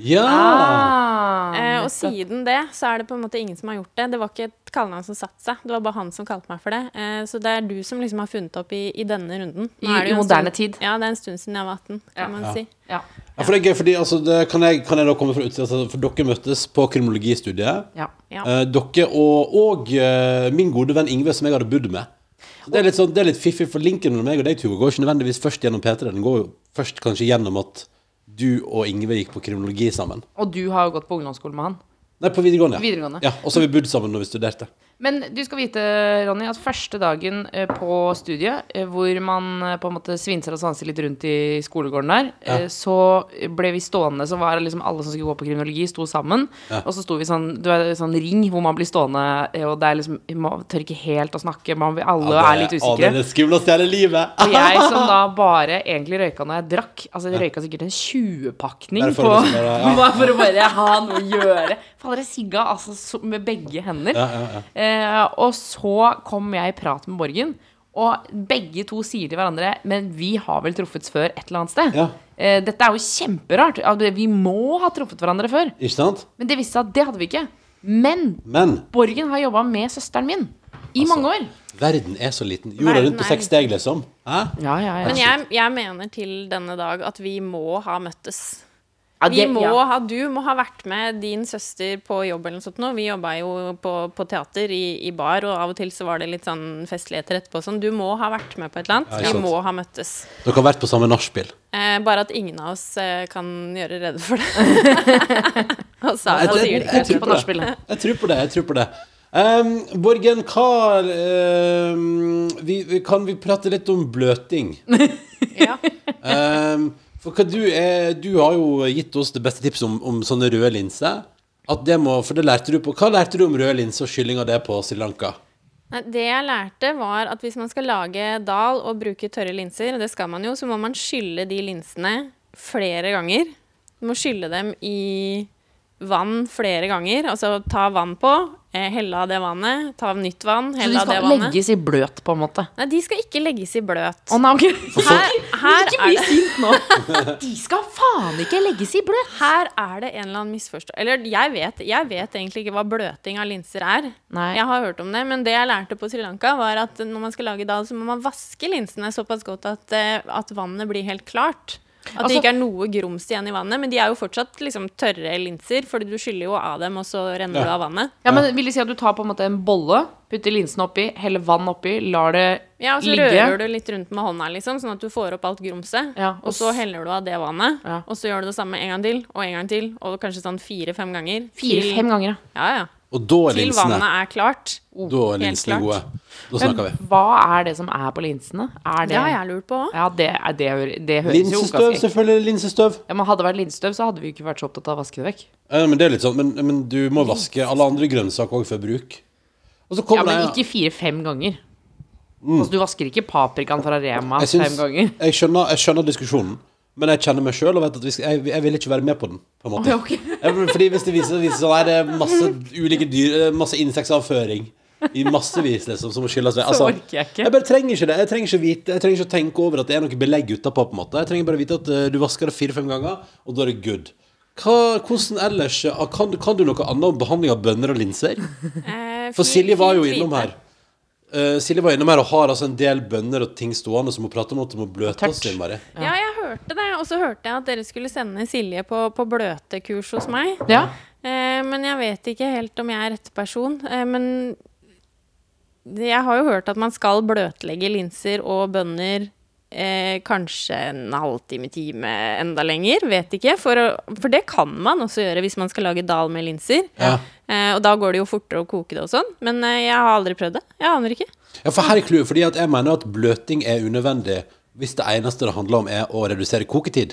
C: Ja! Ah.
D: Ah.
E: Eh, og siden det så er det på en måte ingen som har gjort det. Det var ikke et kallenavn som satte seg. Det var bare han som kalte meg for det. Eh, så det er du som liksom har funnet opp i, i denne runden. Nå
D: I-
E: er det
D: i
E: jo en
D: moderne
E: stund-
D: tid.
E: Ja, det er en stund siden jeg var 18, kan
D: Ja.
E: man si.
D: Ja.
C: Ja, for det er gøy, fordi altså, det, kan, jeg, kan jeg da komme fra utsida? altså, For dere møttes på kriminologistudiet.
D: ja.
E: Ja.
C: Eh, dere og, og eh, min gode venn Ingve, som jeg hadde bodd med. Så Det er litt, sånn, det er litt fiffig, for linken mellom meg og deg, Tuva, går ikke nødvendigvis først gjennom P3. Den går jo først kanskje gjennom at du og Ingve gikk på kriminologi sammen.
D: Og du har jo gått på ungdomsskole med han.
C: Nei, på videregående. ja.
D: Videregående.
C: Ja, og så har vi bodd sammen når vi studerte.
D: Men du skal vite, Ronny, at første dagen eh, på studiet, eh, hvor man eh, på en måte svinser og svanser litt rundt i skolegården der, eh, så ble vi stående, så var det liksom alle som skulle gå på kriminologi, sto sammen. Og så sto vi sånn, du er i sånn ring hvor man blir stående, eh, og det er liksom, man tør ikke helt å snakke, man, alle
C: Ja,
D: er litt
C: Å, det er
D: usikre.
C: det skumleste i hele livet!
D: Og jeg som da bare egentlig røyka når jeg drakk, altså jeg røyka sikkert en 20-pakning
C: Bare for
D: på,
C: å liksom bare- ja.
D: bare for å bare ha noe å gjøre. Fader, jeg sigga altså så, med begge hender.
C: Ja, ja, ja.
D: Eh, og så kom jeg i prat med Borgen, og begge to sier til hverandre Men vi har vel truffet før et eller annet sted?
C: Ja.
D: Eh, dette er jo kjemperart. Ja, det- Vi må ha truffet hverandre før.
C: Ikke sant?
D: Men det viste seg at det hadde vi ikke. Men
C: Men
D: Borgen har jobba med søsteren min
C: Altså.
D: i mange år.
C: verden er så liten. Jorda
E: Verden
C: rundt på
E: er
C: seks steg, liksom. Hæ?
D: Ja, ja, ja.
E: Men jeg, jeg mener til denne dag at vi må ha møttes.
D: Ja,
E: Vi
D: det-
E: må
D: ja.
E: ha, du må ha vært med din søster på jobb eller noe sånt nå. Vi jobba jo på, på teater i, i bar, og av og til så var det litt sånn festligheter etterpå og sånn. Du må ha vært med på et eller annet.
C: Ja, ikke sant.
E: vi må ha møttes.
C: Dere har vært på samme nachspiel.
E: Eh, bare at ingen av oss eh, kan gjøre rede for det. og Sara
C: Jeg tror-
E: sier
C: jeg
E: det.
C: tror
D: på
C: på
D: nachspielet.
C: det. Jeg tror på det. jeg tror på det Ehm, Borgen, hva ehm, vi, vi- Kan vi prate litt om bløting?
E: Ja.
C: Ehm, for hva du, er, du har jo gitt oss det beste tipset om, om sånne røde linser. At det må, for det lærte du på Hva lærte du om røde linser og kylling av det på Sri Lanka?
E: Nei, det jeg lærte, var at hvis man skal lage dal og bruke tørre linser, og det skal man jo, så må man skylle de linsene flere ganger. Du må skylle dem i vann flere ganger. Altså ta vann på, eh, helle av det vannet, ta av nytt vann,
D: Så
E: helle
D: de
E: av det
D: skal
E: vannet.
D: legges i bløt, på en måte.
E: Nei, de skal ikke legges i bløt.
D: Å nei, ok.
E: Her, her,
D: Ikke
E: er
D: bli
E: det,
D: sint nå. De skal faen ikke legges i bløt.
E: her er det en eller annen misforståelse Eller jeg vet, jeg vet egentlig ikke hva bløting av linser er.
D: Nei.
E: Jeg har hørt om det, men det jeg lærte på Sri Lanka, var at når man skal lage dal, så må man vaske linsene såpass godt at, eh, at vannet blir helt klart. At det
D: Altså-
E: ikke er noe grums igjen i vannet. Men de er jo fortsatt liksom tørre linser, fordi du skyller jo av dem, og så renner
C: Ja.
E: du av vannet.
D: Ja, men Vil det si at du tar på en måte en bolle, putter linsen oppi, heller vann oppi, lar det
E: Ja, og så
D: ligge
E: rører du litt rundt med hånda, liksom, sånn at du får opp alt grumset.
D: Ja, og
E: og så heller du av det vannet,
D: Ja.
E: og så gjør du det samme en gang til, og en gang til, og kanskje sånn fire-fem ganger. Til-
D: fire-fem ganger? ja.
E: Ja, ja.
C: Og da er
E: Til
C: linsene,
E: vannet er klart. Oh,
C: da er
E: Helt
C: linsene
E: klart.
C: gode. Da snakker vi.
D: Hva er det som er på linsene? Er
E: Det
D: det
E: har jeg lurt på òg.
D: Ja, det, er, det, hø- det høres jo
C: Linsestøv,
D: ganske
C: selvfølgelig. Linsestøv.
D: ja, men Hadde det vært linsestøv, så hadde vi ikke vært så opptatt av å vaske det vekk.
C: Eh, men det er litt sånn, men, men du må vaske alle andre grønnsaker òg før bruk. Og så kommer
D: Ja, Men
C: det-
D: ikke fire-fem ganger. Altså, du vasker ikke paprikaen fra Rema
C: Mm. Jeg, syns-
D: fem ganger.
C: jeg, skjønner, jeg skjønner diskusjonen, men jeg kjenner meg sjøl og vet at vi skal, jeg, jeg vil ikke være med på den. På en måte.
D: Ok.
C: Jeg- Fordi Hvis det viser, viser sånn, nei, det er masse ulike dyr, eh, masse insektavføring I massevis, liksom, som må skyldes ved.
D: Så orker jeg ikke.
C: Jeg bare trenger ikke det. Jeg trenger ikke, vite, jeg trenger ikke tenke over at det er noe belegg utapå. på en måte. Jeg trenger bare vite at eh, du vasker det fire-fem ganger, og da er det good. Hva, hvordan ellers eh, kan, du- kan du noe annet om behandling av bønner og linser?
E: Eh,
C: For
E: fint-
C: Silje var jo
E: fint
C: innom
E: vite.
C: her. Eh, Silje var innom her og har altså en del bønner og ting stående som hun prater om at hun må bløte
D: Tørt.
C: oss innmari.
E: Ja, jeg hørte det. Og så hørte jeg at dere skulle sende Silje på, på bløtekurs hos meg.
D: Ja.
E: Eh, men jeg vet ikke helt om jeg er rett person. Eh, men jeg har jo hørt at man skal bløtlegge linser og bønner eh, kanskje en halvtime, time, enda lenger. Vet ikke. For, å, for det kan man også gjøre hvis man skal lage dal med linser.
C: Ja.
E: Eh, og da går det jo fortere å koke det og sånn. Men eh, jeg har aldri prøvd det. Jeg aner ikke.
C: Ja, for her er clouet, fordi at jeg mener at bløting er unødvendig hvis det eneste det handler om, er å redusere koketid.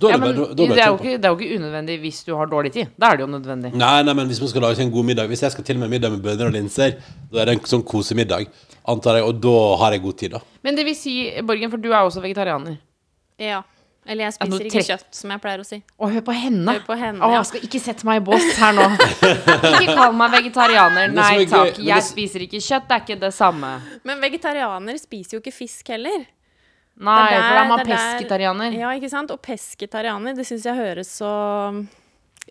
C: Da er
D: Ja,
C: det
D: men
C: bare, da, da
D: det, er jo
C: ikke...
D: ikke, det er jo ikke unødvendig hvis du har dårlig tid. Da er det jo nødvendig.
C: Nei, nei, men hvis man skal lage seg en god middag Hvis jeg skal til meg middag med bønner og linser, da er det en sånn kosemiddag, antar jeg, og da har jeg god tid, da.
D: Men det vil si, Borgen, for du er også vegetarianer.
E: Ja. Eller jeg
D: nå
E: spiser ikke
D: trekk-
E: kjøtt, som jeg pleier å si.
D: Å, hør på henne.
E: Hør på henne,
D: Å,
E: ja.
D: skal ikke sette meg i bås her nå. ikke kall meg vegetarianer.
C: Men det som
D: Nei
C: er gøy- men
D: takk.
C: det
D: Jeg
C: som-
D: spiser ikke kjøtt. Det er ikke det samme.
E: Men vegetarianere spiser jo ikke fisk heller.
D: Nei,
E: Det er
D: for da er man
E: det er der-
D: pesketarianer.
E: Ja, ikke sant? Og pesketarianer, det syns jeg høres så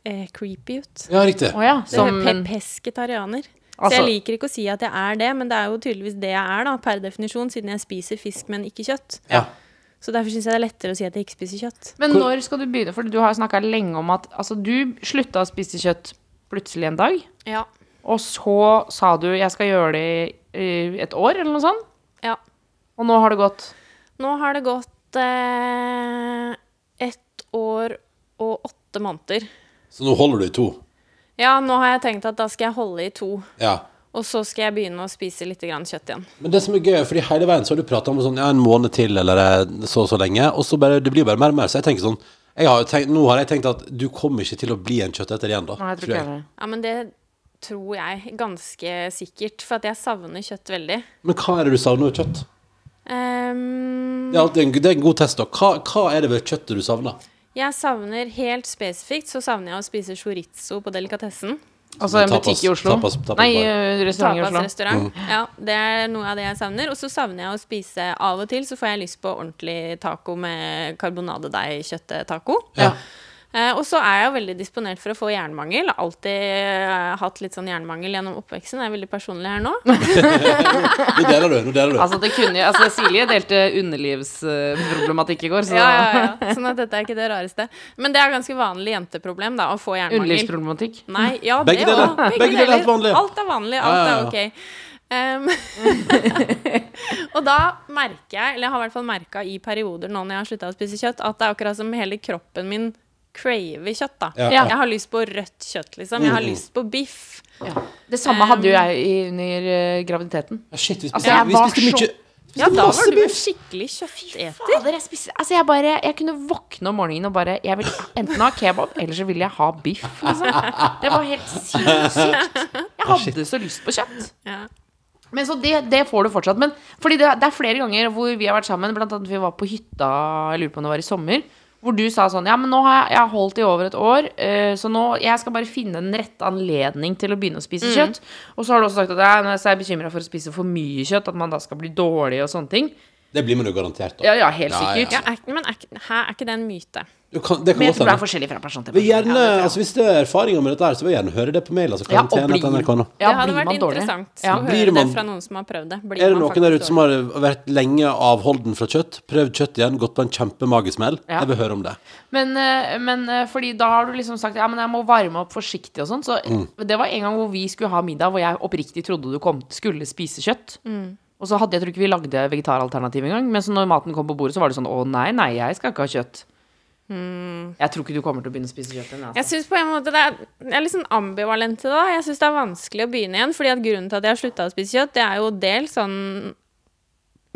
E: eh, creepy ut.
C: Ja, riktig.
D: Å ja.
E: Som
D: Som
E: pe pesketarianer. så
D: Altså-
E: jeg liker ikke å si at jeg er det, men det er jo tydeligvis det jeg er, da, per definisjon, siden jeg spiser fisk, men ikke kjøtt.
C: Ja.
E: Så derfor syns jeg det er lettere å si at jeg ikke spiser kjøtt.
D: Men når skal du begynne? For du har jo snakka lenge om at altså, du slutta å spise kjøtt plutselig en dag.
E: Ja.
D: Og så sa du 'jeg skal gjøre det i eh, et år', eller noe sånt.
E: ja.
D: Og nå har det gått.
E: Nå har det gått eh, ett år og åtte måneder.
C: Så nå holder du i to.
E: Ja, nå har jeg tenkt at da skal jeg holde i to,
C: Ja.
E: og så skal jeg begynne å spise litt grann kjøtt igjen.
C: Men det som er gøy, fordi hele veien så har du prata om sånn, ja, en måned til eller eh, så og så lenge, og så bare, det blir bare mer og mer. Så jeg tenker sånn jeg har jo tenkt, Nå har jeg tenkt at du kommer ikke til å bli en kjøtteter igjen, da.
D: Nei, jeg tror ikke jeg det.
E: Ja, men det tror jeg ganske sikkert, for at jeg savner kjøtt veldig.
C: Men hva er det du savner ved kjøtt?
E: Ehm,
C: Det er, alltid en, det er en god test, da. Hva, hva er det ved kjøttet du savner?
E: jeg savner helt spesifikt, så savner jeg å spise chorizo på delikatessen.
D: Altså en
C: Tapas-
D: butikk i Oslo.
C: tapas- tapas-
D: Nei,
C: bar.
D: eh, restaurant i Oslo.
E: Tapasrestaurant. Ja, det er noe av det jeg savner. Og så savner jeg å spise av og til, så får jeg lyst på ordentlig taco med karbonadedeig-kjøttetaco.
C: Ja.
E: Eh, og så er jeg jo veldig disponert for å få jernmangel. Har alltid eh, hatt litt sånn jernmangel gjennom oppveksten. Jeg er veldig personlig her nå.
C: Nå deler du. nå deler du
D: Altså, det kunne, jo- altså Silje delte underlivsproblematikk i går, så
E: Ja, ja, ja. Sånn at dette er ikke det rareste. Men det er ganske vanlig jenteproblem, da, å få jernmangel.
D: Underlivsproblematikk.
E: Nei, ja,
C: Begge
E: det
C: deler.
E: også.
C: Begge deler er helt vanlig.
E: Alt er vanlig, alt
C: Ja, ja, ja.
E: er ok. Um, og da merker jeg, eller jeg har i hvert fall merka i perioder nå når jeg har slutta å spise kjøtt, at det er akkurat som hele kroppen min craver kjøtt, da.
C: Ja, Mm. ja.
E: Jeg har lyst på rødt kjøtt, liksom. Jeg har lyst på biff.
D: Det samme hadde jo jeg i- under eh, graviditeten.
C: Ja, Shit, vi
D: Altså,
C: spiste,
D: jeg
C: vi
D: var
C: spiste
D: så-
C: mye spiste
E: Ja, da
C: masse
E: var du en
C: biff.
E: skikkelig kjøtteter.
D: Fader, jeg spiste Altså, jeg bare Jeg kunne våkne om morgenen og bare Jeg vil enten ha kebab, eller så vil jeg ha biff, liksom. Det var helt sinnssykt. Jeg hadde så lyst på kjøtt.
E: Ja.
D: Men så det, det får du fortsatt. Men fordi det, det er flere ganger hvor vi har vært sammen, blant annet vi var på hytta, jeg lurer på om det var i sommer, hvor du sa sånn Ja, men nå har jeg, jeg har holdt i over et år, eh, så nå Jeg skal bare finne den rette anledning til å begynne å spise kjøtt. Og så har du også sagt at ja, nå er jeg bekymra for å spise for mye kjøtt, at man da skal bli dårlig og sånne ting.
C: Det blir man jo garantert, da.
D: Ja, ja, helt
C: Ja, ja.
D: sikkert.
E: Ja, er, ikke- men er, ikke- her er ikke det en myte?
C: Du kan, det kan
D: Men jeg
C: godt
D: tror det er
C: hende.
D: forskjellig fra person til
C: Vi
D: person.
C: Gjerne, altså, hvis det er erfaringer med dette, her, så vil jeg gjerne høre det på mail. Altså,
D: Ja, og blir-
C: karantene.nrk.no.
D: Ja,
E: det hadde
D: blir
E: vært
D: man dårlig?
E: interessant
D: Ja.
E: å
C: Blir
E: høre
C: man-
E: det fra noen som har prøvd det. Blir
C: Er det noen
E: man
C: der
E: faktisk
C: ute som har vært lenge avholden fra kjøtt, prøvd kjøtt igjen, gått på en kjempemagesmell?
D: Ja.
C: Jeg vil høre om det.
D: Men, eh, men eh, fordi da har du liksom sagt Ja, men jeg må varme opp forsiktig og sånn. Så
C: Mm.
D: det var en gang hvor vi skulle ha middag hvor jeg oppriktig trodde du kom, skulle spise kjøtt. Og så hadde jeg tror ikke vi lagde vegetaralternativ engang. Men så når maten kom på bordet, så var det sånn Å nei, nei, jeg skal ikke ha kjøtt. Jeg tror ikke du kommer til å begynne å spise kjøtt igjen.
E: Jeg
D: Altså.
E: synes på en måte det er, jeg er litt sånn ambivalent til det. da. Jeg syns det er vanskelig å begynne igjen. fordi at grunnen til at jeg har slutta å spise kjøtt, det er jo dels sånn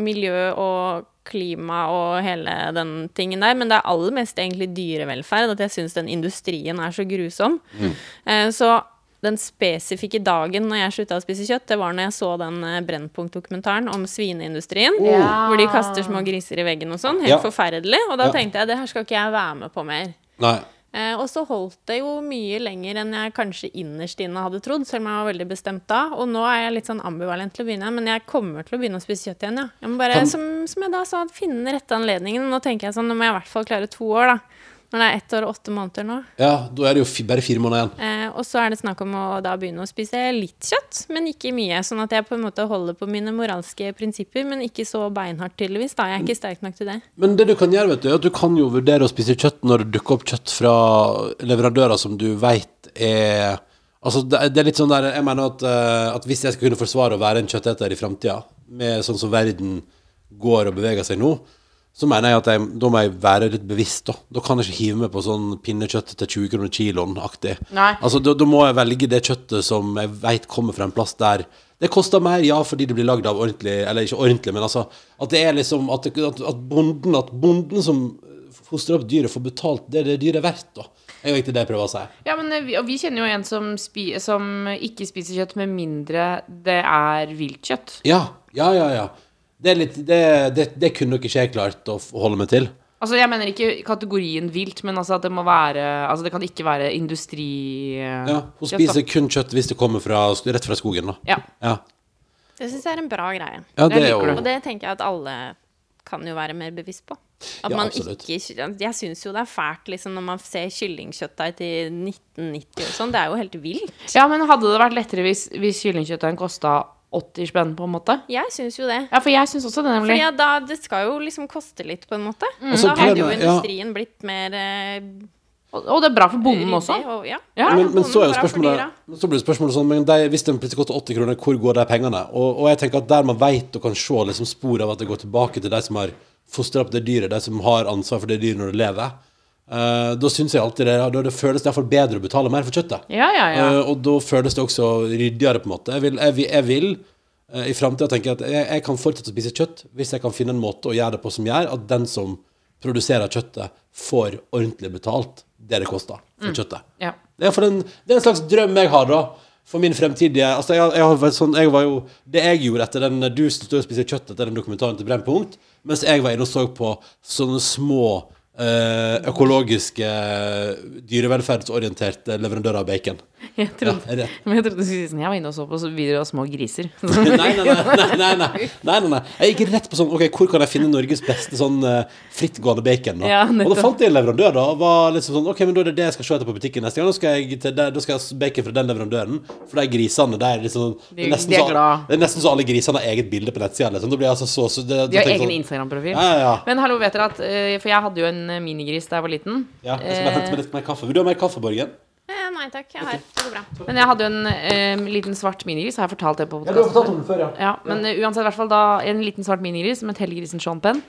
E: miljø og klima og hele den tingen der, men det er aller mest egentlig dyrevelferd. At jeg syns den industrien er så grusom.
C: Mm.
E: Eh, Så den spesifikke dagen når jeg slutta å spise kjøtt, det var når jeg så den eh, Brennpunkt-dokumentaren om svineindustrien.
D: Ja.
E: Hvor de kaster små griser i veggen og sånn. Helt
C: Ja.
E: forferdelig. Og da
C: Ja.
E: tenkte jeg det her skal ikke jeg være med på mer.
C: Nei.
E: Eh, og så holdt det jo mye lenger enn jeg kanskje innerst inne hadde trodd, selv om jeg var veldig bestemt da. Og nå er jeg litt sånn ambivalent til å begynne, men jeg kommer til å begynne å spise kjøtt igjen, ja. Jeg må bare,
C: Kan-
E: som, som jeg da sa, finne den rette anledningen. Nå tenker jeg sånn, nå må jeg i hvert fall klare to år, da. Når det er ett år og åtte måneder nå.
C: Ja, da er det jo fi, bare fire måneder igjen.
E: Eh, og så er det snakk om å da begynne å spise litt kjøtt, men ikke mye. Sånn at jeg på en måte holder på mine moralske prinsipper, men ikke så beinhardt, tydeligvis. da. Jeg er ikke sterk nok til det.
C: Men det du kan gjøre, vet du, er at du kan jo vurdere å spise kjøtt når det dukker opp kjøtt fra leverandører som du veit er Altså, det er- det er litt sånn der Jeg mener at, eh, at hvis jeg skal kunne forsvare å være en kjøtteter i framtida, med sånn som verden går og beveger seg nå, så mener jeg at jeg, da må jeg være litt bevisst, da. Da kan jeg ikke hive meg på sånn pinnekjøtt til 20 kroner kiloen-aktig.
D: Nei.
C: Altså, da, da må jeg velge det kjøttet som jeg veit kommer fra en plass der det koster mer, ja, fordi det blir lagd av ordentlig Eller ikke ordentlig, men altså At det er liksom At, det, at, at bonden At bonden som fostrer opp dyret, får betalt det det dyret er verdt, da. Det er jo egentlig det jeg prøver å si.
D: Ja, men eh, vi, og vi kjenner jo en som, spi, som ikke spiser kjøtt med mindre det er viltkjøtt.
C: Ja, ja, ja. ja. Det, er litt, det, det, det kunne nok ikke jeg klart å f- holde meg til.
D: Altså, jeg mener ikke kategorien vilt, men altså at det må være Altså, det kan ikke være industri... eh,
C: Ja, Hun
D: kjøtt,
C: spiser kun kjøtt hvis det kommer fra, rett fra skogen, da.
D: da. Ja.
C: Ja,
E: Det syns jeg er en bra greie.
C: ja det
D: Jeg
C: er
D: liker
C: jo
E: Og det tenker jeg at alle kan jo være mer bevisst på. At
C: Ja,
E: man
C: absolutt.
E: ikke, jeg syns jo det er fælt liksom, når man ser kyllingkjøttdeig til 1990 og sånn. Det er jo helt vilt.
D: ja, men hadde det vært lettere hvis, hvis kyllingkjøttdeigen kosta 80 spenn, på en måte?
E: Jeg syns jo det.
D: Ja, for jeg syns også det,
E: Fordi
D: nemlig.
E: at da, det skal jo liksom koste litt, på en måte.
C: så
E: Da hadde jo
C: glemmer- ja.
E: industrien blitt mer eh,
D: Og, og det er bra for bonden også.
E: ryddig Og, ja.
D: Ja,
E: Bra
C: men,
E: for
C: men så er jo
E: bonden, bra for
C: spørsmålet
E: dyra.
C: men Så blir det spørsmålet sånn Men de, hvis den plutselig koster 80 kroner Hvor går de pengene? Og, og jeg tenker at der man vet Og kan se liksom spor av at det går tilbake til De som har fostret opp det dyret De som har ansvar for det dyret når det lever Eh, Da synes jeg alltid det, da det føles i hvert fall bedre Å betale mer for kjøttet
D: Ja, ja, ja.
C: Eh, Og da føles det også ryddigere på en måte Jeg vil, jeg, vil- jeg vil eh, i fremtiden tenke at jeg, jeg kan fortsette å spise kjøtt Hvis jeg kan finne en måte å gjøre det på som gjør At den som produserer kjøttet Får ordentlig betalt Det det koster for kjøttet
D: Mm. ja.
C: det er, for den, det er en slags drøm jeg har, da. For min fremtidige altså jeg, jeg, har vært sånn, jeg var jo, Det jeg gjorde etter den Du stod og spiste kjøtt etter den dokumentaren til Brennpunkt, mens jeg var inne og så på sånne små eh, økologiske, dyrevelferdsorienterte leverandører av bacon.
D: Jeg trodde,
C: er det?
D: men jeg trodde du skulle si sånn Jeg var inne og så på så- videoer av små griser.
C: Nei nei nei, nei, nei, nei, nei, nei. Jeg gikk rett på sånn Ok, hvor kan jeg finne Norges beste sånn eh, frittgående bacon? Da?
D: Ja,
C: og
D: nettopp.
C: da fant jeg en leverandør, da. Og var liksom sånn Ok, men da er det det jeg skal se etter på butikken neste gang. Da skal jeg, til der, da skal jeg ha bacon fra den leverandøren. For de grisene, de er liksom det er nesten
D: de er
C: så-
D: glad.
C: Det er nesten så alle grisene har eget bilde på nettsida, liksom. Da blir jeg altså så, så det,
D: De har
C: da tenker jeg
D: egen
C: sånn,
D: Instagram-profil.
C: Ja, ja, ja.
D: Men hallo, vet dere at eh, For jeg hadde jo en eh, minigris da jeg var liten.
C: Ja, jeg skal bare
D: Eh.
C: hente meg litt mer kaffe. Vil du ha mer kaffe, Borgen?
E: Eh, Nei takk, jeg har det går bra.
D: Men jeg hadde jo en eh, liten svart minigris. Har jeg fortalt det på
C: Ja, du har
D: podcasten?
C: fortalt om den før, ja.
D: Ja, men eh, uansett, i hvert fall da en liten svart minigris som het Hellegrisen Sean Penn.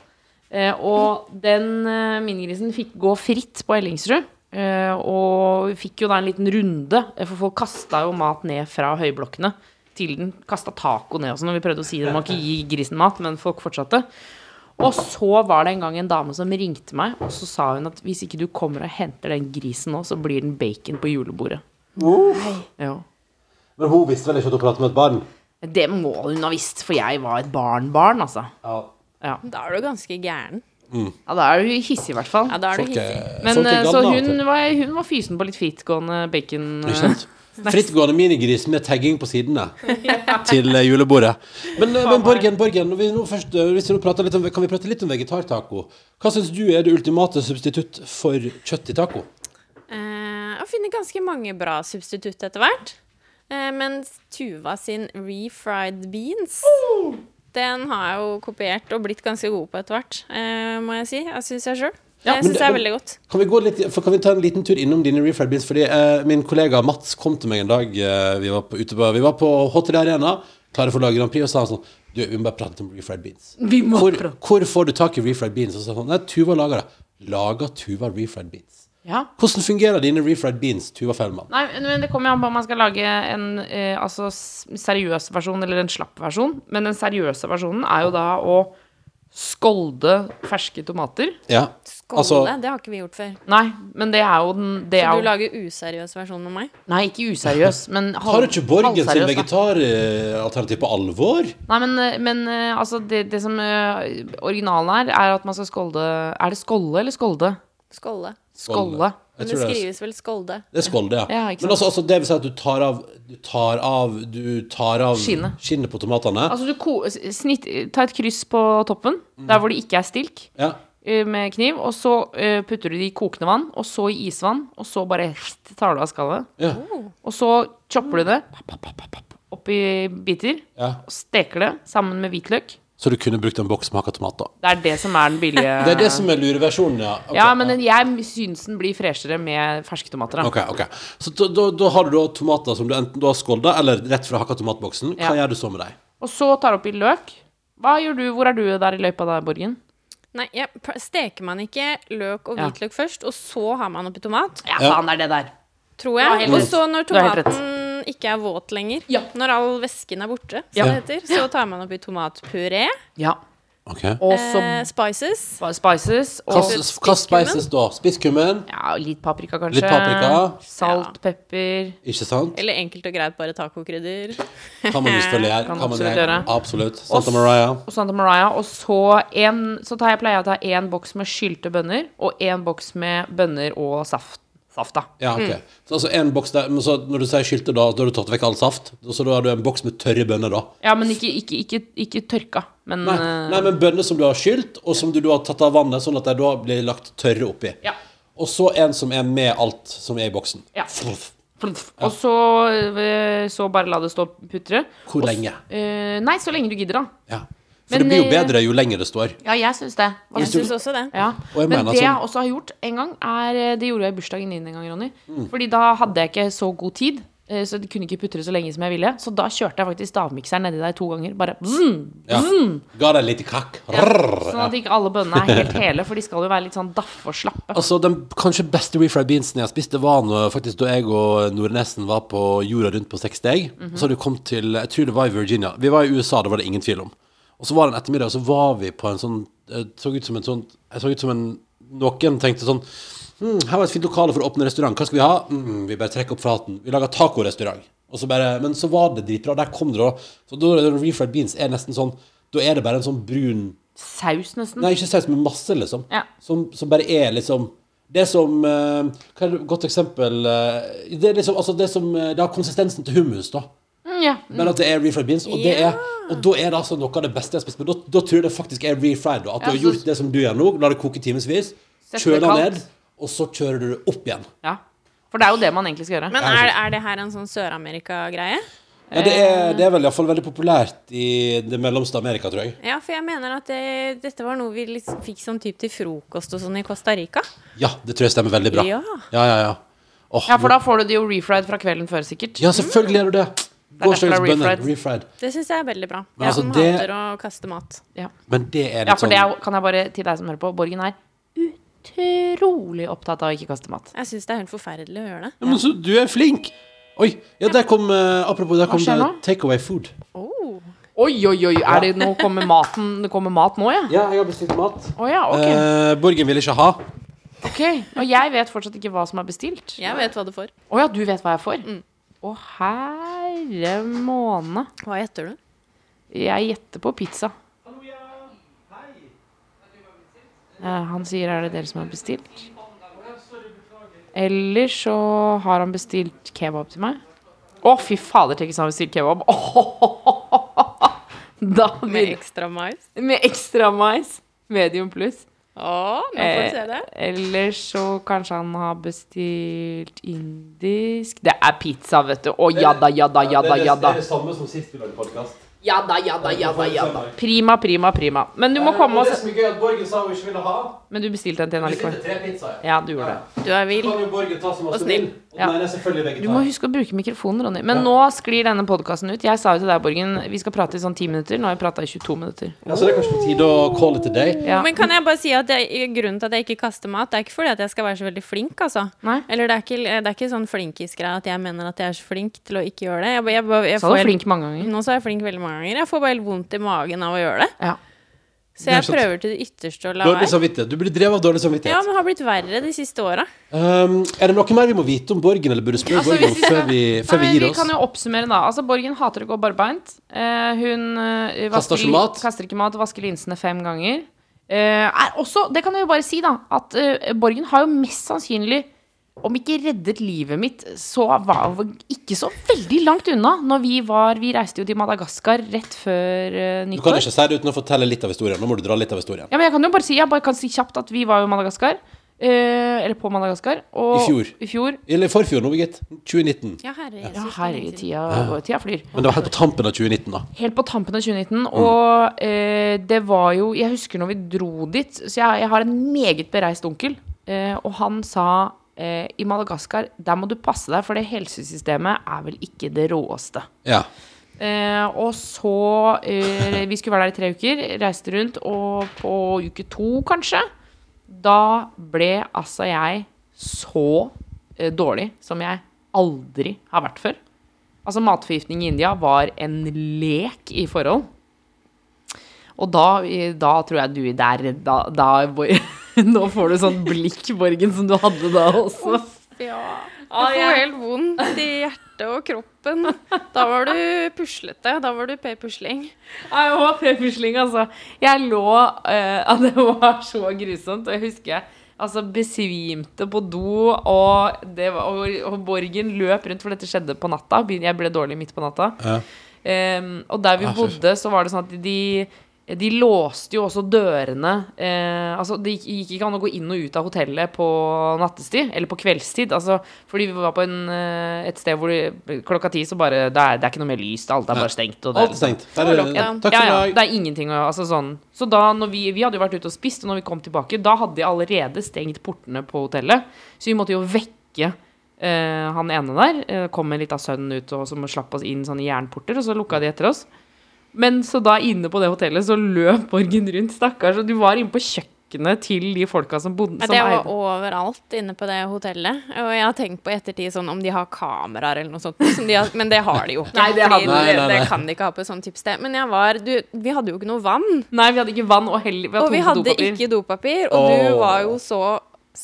D: Eh, og den eh, minigrisen fikk gå fritt på Ellingsrud. eh, og fikk jo da en liten runde, eh, for folk kasta jo mat ned fra høyblokkene til den. Kasta taco ned og sånn, og vi prøvde å si det, man må ikke gi grisen mat, men folk fortsatte. Og så var det en gang en dame som ringte meg, og så sa hun at hvis ikke du kommer og henter den grisen nå, så blir den bacon på julebordet. Ja.
C: Men hun visste vel ikke at hun pratet med et barn?
D: Det må hun ha visst, for jeg var et barnbarn, altså.
C: Ja.
D: Ja,
E: Da er du ganske gæren.
D: ja da er du hissig, i hvert fall.
E: Ja, da er du
C: Folk
E: hissig.
C: er,
D: Men
C: folk er
D: eh, så
C: gamle av og Sånn til.
D: hun var, hun var fysen på litt frittgående bacon. eh,
C: Ikke sant? Frittgående minigris med tagging på sidene til eh, julebordet. Men, eh, men Borgen, Borgen når vi nå først, eh, hvis vi nå prater litt om, kan vi prate litt om vegetartaco? Hva syns du er det ultimate substitutt for kjøtt i taco?
E: Eh, og finner ganske mange bra substitutt etter hvert. Eh, mens Tuva sin refried beans Den har jeg jo kopiert og blitt ganske god på etter hvert, eh, må jeg si. Jeg syns jeg sjøl.
D: Ja,
C: men
E: jeg syns
C: det-
E: det er
C: men-
E: veldig godt.
C: Kan vi, gå litt, for kan vi ta en liten tur innom dine refried beans? Fordi eh, min kollega Mats kom til meg en dag eh, vi, var på, ute på, vi var på Hotel Arena, klare for å lage Grand Prix, og sa han sånn Du, vi må bare prate om refried beans.
D: Vi må
C: hvor,
D: prate.
C: hvor får du tak i refried beans? Og så sa han nei, Tuva lager det. Lager Tuva refried beans?
D: Ja.
C: Hvordan fungerer dine refried beans, Tuva Fellmann?
D: Nei, men Det kommer jo an på om man skal lage en eh, altså, s- seriøs versjon eller en slapp versjon. Men den seriøse versjonen er jo da å skolde ferske tomater.
C: Ja.
E: Skåle,
C: Altså,
E: det har ikke vi gjort før.
D: Nei, men det er jo den det
E: Så
D: er
E: du
D: jo,
E: lager useriøs versjon med meg?
D: Nei, ikke useriøs, men halv,
C: tar du ikke Borgen sin
D: halvseriøs, da.
C: vegetaralternativ på alvor?
D: Nei, men, men eh, altså, det, det som eh, originalen er, er at man skal skolde Er det skolle eller skolde?
E: Skåle.
D: Skolle.
C: Jeg
E: Men
C: tror det
E: det
C: er-
E: skrives vel Skolde.
C: Det er skål, det, ja.
D: Ja, ikke
C: Men altså,
D: sant?
C: altså, det vil si at du tar av Du tar av, du tar av
D: Skinnet.
C: på tomatene.
D: Altså, du ko snitt, ta et kryss på toppen,
C: Mm.
D: der hvor det ikke er stilk,
C: ja.
D: eh, med kniv. Og så eh, putter du det i kokende vann, og så i isvann, og så bare tar du av skallet.
C: Ja.
D: Og så chopper du det opp i biter,
C: ja.
D: og steker det sammen med hvitløk.
C: Så du kunne brukt en boks med hakka tomater.
D: Det er det som er den billige
C: Det er det som er lureversjonen, ja. Ok,
D: Ja, men den, jeg syns den blir freshere med ferske tomater. Da.
C: Ok, ok. Så da, da, da har du da tomater som du enten du har skålda, eller rett fra hakka tomatboksen. Hva
D: Ja.
C: gjør du så med dem?
D: Og så tar du oppi løk. Hva gjør du, Hvor er du der i løypa da, Borgen?
E: Nei, ja, pr- steker man ikke løk og
D: Ja.
E: hvitløk først, og så har man oppi tomat?
D: Ja,
C: Ja.
D: faen, det er det der.
E: Tror
D: Du har
E: jeg.
D: helt
E: Og
D: rett.
E: så når
D: Du har helt
E: tomaten ikke er våt lenger,
D: Ja.
E: når all væsken er borte, som
C: Ja.
E: det heter, så tar man oppi tomatpuré,
D: Ja.
C: Ok.
D: Og så
E: eh, spices,
D: ba- spices
C: Hva
D: og
C: hva spises da? Spisskummen?
D: ja, litt paprika, kanskje.
C: Litt paprika.
D: Salt, pepper.
C: Ikke sant?
E: eller enkelt og greit bare tacokrydder.
C: Kan man jo selvfølgelig gjøre. Kan
D: Kan
C: man
D: absolutt
C: gjøre.
D: gjøre.
C: Absolutt. Santa Maria.
D: Og Santa Maria. Og så, en, så tar jeg, pleier jeg å ta én boks med skylte bønner, og én boks med bønner og saft. Safta.
C: Ja, ok.
D: Mm.
C: Så altså en boks der, men så når du sier skylte, da, da har du tatt vekk all saft? Så da har du en boks med tørre bønner, da?
D: Ja, men ikke, ikke, ikke, ikke tørka. Men
C: Nei,
D: eh,
C: nei, men bønner som du har skylt, og som du da har tatt av vannet, sånn at de da blir lagt tørre oppi.
D: Ja.
C: Og så en som er med alt som er i boksen.
D: Ja.
C: Fluff.
D: Og så, eh, så bare la det stå og putre.
C: Hvor
D: Og s-
C: lenge?
D: eh, nei, så lenge du gidder, da.
C: Ja. For
D: Men,
C: det blir jo
D: eh,
C: bedre jo lenger det står.
D: Ja, jeg syns det. Hva
E: Jeg
D: syns du?
E: syns også det.
D: Ja.
C: Og jeg
D: Men
C: mener
D: det jeg
C: sånn-
D: også har gjort en gang, er eh, Det gjorde jeg i bursdagen din en gang, Ronny. Fordi da hadde jeg ikke så god tid, eh, så jeg kunne ikke putre så lenge som jeg ville. Så da kjørte jeg faktisk stavmikseren nedi der to ganger. Bare bzzn,
C: Ja.
D: Mm.
C: Ga deg litt kakk. Rrrr.
D: Sånn at ikke alle bønnene er helt hele, for de skal jo være litt sånn daffe og slappe.
C: Altså, Den kanskje beste refried beansen jeg har spist, det var nå, faktisk da jeg og Nordnesen var på jorda rundt på seks steg. Så hadde vi kommet til Jeg tror det var i Virginia. Vi var i USA, det var det ingen tvil om. Og så var det en ettermiddag, og så var vi på en sånn Det så ut som en sånn Jeg så ut som en Noen tenkte sånn hm, Her var et fint lokale for å åpne restaurant. Hva skal vi ha? Mm, vi bare trekker opp flaten. Vi lager tacorestaurant. Og så bare Men så var det dritbra. Der kom det, da. Så da refried beans er nesten sånn Da er det bare en sånn brun
D: Saus, nesten.
C: Nei, ikke saus, men masse, liksom.
D: Ja.
C: Som, som bare er liksom Det som eh, Hva er et godt eksempel eh, Det er liksom altså det som eh, Det har konsistensen til hummus, da.
D: Mm, ja.
C: Men at det er refried beans. Og, det er, og da er det altså noe av det beste jeg har spist. Men da, da tror jeg det faktisk er refried. Da, at
D: Ja,
C: du har
D: så-
C: gjort det som du gjør nå. La det koke timevis.
D: Sett det
C: Kjøler
D: kaldt.
C: ned, og så kjører du det opp igjen.
D: ja. For det er jo det man egentlig skal gjøre.
E: Men er, er det her en sånn Sør-Amerika-greie?
C: Ja, det
D: Eh.
C: er, det er vel iallfall veldig populært i det mellomste Amerika, tror jeg.
E: Ja, for jeg mener at det, dette var noe vi liksom fikk sånn typ til frokost og sånn i Costa Rica.
C: Ja, det tror jeg stemmer veldig bra.
E: Ja.
C: ja, ja. ja. Åh,
D: Ja, for da får du det jo refried fra kvelden før, sikkert.
C: ja selvfølgelig er du det.
D: er derfor det er
C: Gårsdagens bønner.
D: refried.
C: Refried.
E: Det syns jeg er veldig bra.
C: Men
E: jeg
C: altså,
E: som
C: det-
E: hater å kaste mat.
D: Ja.
C: Men det er
D: Ja,
C: litt
D: for
C: sånn
D: det er, kan jeg bare til deg som hører på. Borgen er utrolig opptatt av å ikke kaste mat.
E: Jeg syns det er helt forferdelig å gjøre det.
C: Ja, men så, du er flink! Oi, ja, der kom eh, Apropos, der kom
D: skjer
C: det
D: nå?
C: takeaway food.
E: Oh.
D: Oi, oi, oi! Er det, nå kommer maten Det kommer mat nå, ja?
C: Ja, jeg har bestilt mat.
D: Å ja, ok.
C: Eh, Borgen vil ikke ha.
D: ok. Og jeg vet fortsatt ikke hva som er bestilt. Å
E: Jeg vet hva du får.
D: ja, du vet hva jeg får? Å herre måne.
E: Hva gjetter du?
D: Jeg gjetter på pizza. Eh, Han sier er det dere som har bestilt? Eller så har han bestilt kebab til meg. Å, fy fader, tenk hvis han har bestilt kebab! Da
E: Med
D: blir
E: ekstra mais?
D: Med ekstra mais. Medium pluss.
E: Å, nå får du se det.
D: Eh, eller så kanskje han har bestilt indisk Det er pizza, vet du. Å, jadda, jadda, jadda, jadda.
C: samme som sist vi lagde podkast.
D: Jadda, jadda, jadda, jadda. Prima, prima, prima. Men du må komme og se.
C: som er gøy, at Borgen sa hun ikke ville ha
D: Men du bestilte en til en allikevel.
C: tre pizzaer.
D: Ja, du gjorde det.
E: Du er vill.
C: jo Borgen ta som
E: Og snill.
C: Og
D: Ja.
C: er selvfølgelig
D: Du må huske å bruke mikrofonen, Ronny. Men nå sklir denne podkasten ut. Jeg sa jo til deg, Borgen, vi skal prate i sånn ti minutter. Nå har vi prata i 22 minutter.
C: Ja, så det er kanskje på tide å call it a day.
D: Ja.
E: Men kan jeg bare si at det, grunnen til at jeg ikke kaster mat, det er ikke fordi at jeg skal være så veldig flink, altså.
D: Nei.
E: Eller det er ikke, det er ikke sånn flinkis-greie at jeg mener at jeg er så flink til å ikke gjøre det. Jeg, bare- jeg, bare- jeg
D: Sa
E: får
D: du
E: helt-
D: flink mange ganger?
E: Nå så er jeg flink veldig mange ganger. Jeg får bare helt vondt i magen av å gjøre det.
D: Ja.
E: Så jeg
C: Det er sant.
E: prøver til det ytterste å la
C: Dårlig
E: være.
C: samvittighet. Du blir drevet av dårlig
E: Ja,
C: samvittighet.
E: men har blitt verre de siste åra.
C: Um, er det noe mer vi må vite om Borgen, eller burde spørre
D: Altså,
C: Borgen
D: hvis vi skal-
C: før vi, før vi
D: Nei,
C: gir
D: vi
C: oss?
D: kan jo oppsummere, da. Altså, Borgen hater å gå barbeint. Eh, hun eh,
C: Kaster
D: vasker,
C: ikke mat.
D: kaster ikke mat, vasker linsene fem ganger. Eh, er også, det kan jeg jo bare si, da, at eh, Borgen har jo mest sannsynlig om ikke reddet livet mitt, så var det ikke så veldig langt unna. Når vi var Vi reiste jo til Madagaskar rett før eh,
C: Du kan
D: nyttår.
C: ikke si det uten å fortelle litt av historien. Nå må du dra litt av historien.
D: Ja, men jeg kan jo bare si Jeg bare kan si kjapt at vi var jo i Madagaskar. eh, eller på Madagaskar. Og,
C: I fjor.
D: I fjor.
C: Eller i forfjor nå, Birgit. 2019.
E: Ja, herre, Jesus,
D: Ja,
E: det er
D: herregud,
E: lenge
D: tida,
E: siden.
D: tida flyr.
C: Men det var helt på tampen av 2019, da.
D: Helt på tampen av 2019. Og eh, det var jo Jeg husker når vi dro dit Så jeg, jeg har en meget bereist onkel, eh, og han sa eh, i Madagaskar, der må du passe deg, for det helsesystemet er vel ikke det råeste.
C: Ja.
D: Eh, og så eh, Vi skulle være der i tre uker, reiste rundt, og på uke to, kanskje, da ble altså jeg så eh, dårlig som jeg aldri har vært før. Altså, matforgiftning i India var en lek i forhold. Og da, eh, da tror jeg du der Da, da Bor- Nå får du sånn blikk, Borgen, som du hadde da også.
E: Ja.
D: Ah,
E: Jeg
D: ja.
E: får helt vondt i hjertet og kroppen. Da var du puslete. Da var du p-pusling.
D: Nei, det var prøvesling, altså. Jeg lå eh, at Det var så grusomt. Og jeg husker jeg altså, besvimte på do, og, det var, og, og Borgen løp rundt, for dette skjedde på natta. Begyn- Jeg ble dårlig midt på natta.
C: Ja.
D: Em, Ehm, og der vi
C: Ah, fy faen.
D: bodde, så var det sånn at de de låste jo også dørene eh, Altså, det gikk, gikk ikke an å gå inn og ut av hotellet på nattestid, eller på kveldstid. Altså, fordi vi var på en, eh, et sted hvor det, klokka ti så bare Det er, det er ikke noe mer lys, alt er bare stengt. Og det,
C: Alt er stengt. Der er,
E: lockdown.
C: takk
D: ja,
C: for i
D: ja,
C: dag.
D: det er ingenting å altså sånn. Så da når vi, vi hadde jo vært ute og spist, og når vi kom tilbake, da hadde de allerede stengt portene på hotellet. Så vi måtte jo vekke eh, han ene der. Eh, kom en liten sønn ut og som slapp oss inn sånne jernporter, og så lukka de etter oss. Men så da inne på det hotellet så løp Borgen rundt, stakkars. Og du var inne på kjøkkenet til de folka som bodde
E: Ja,
D: som
E: det var
D: eide-
E: overalt inne på det hotellet. Og jeg har tenkt på i ettertid sånn om de har kameraer eller noe sånt. Som de har, men det har de jo ikke.
D: Nei, det
E: fordi
C: hadde- Nei, nei,
E: det
C: nei.
E: kan de ikke ha på et sånt type sted. Men jeg var du, Vi hadde jo ikke noe vann.
D: Nei, vi hadde ikke vann og heller vi hadde
E: Og vi
D: tomt
E: hadde
D: dopapir.
E: ikke dopapir. Og du
C: Åh.
E: var jo så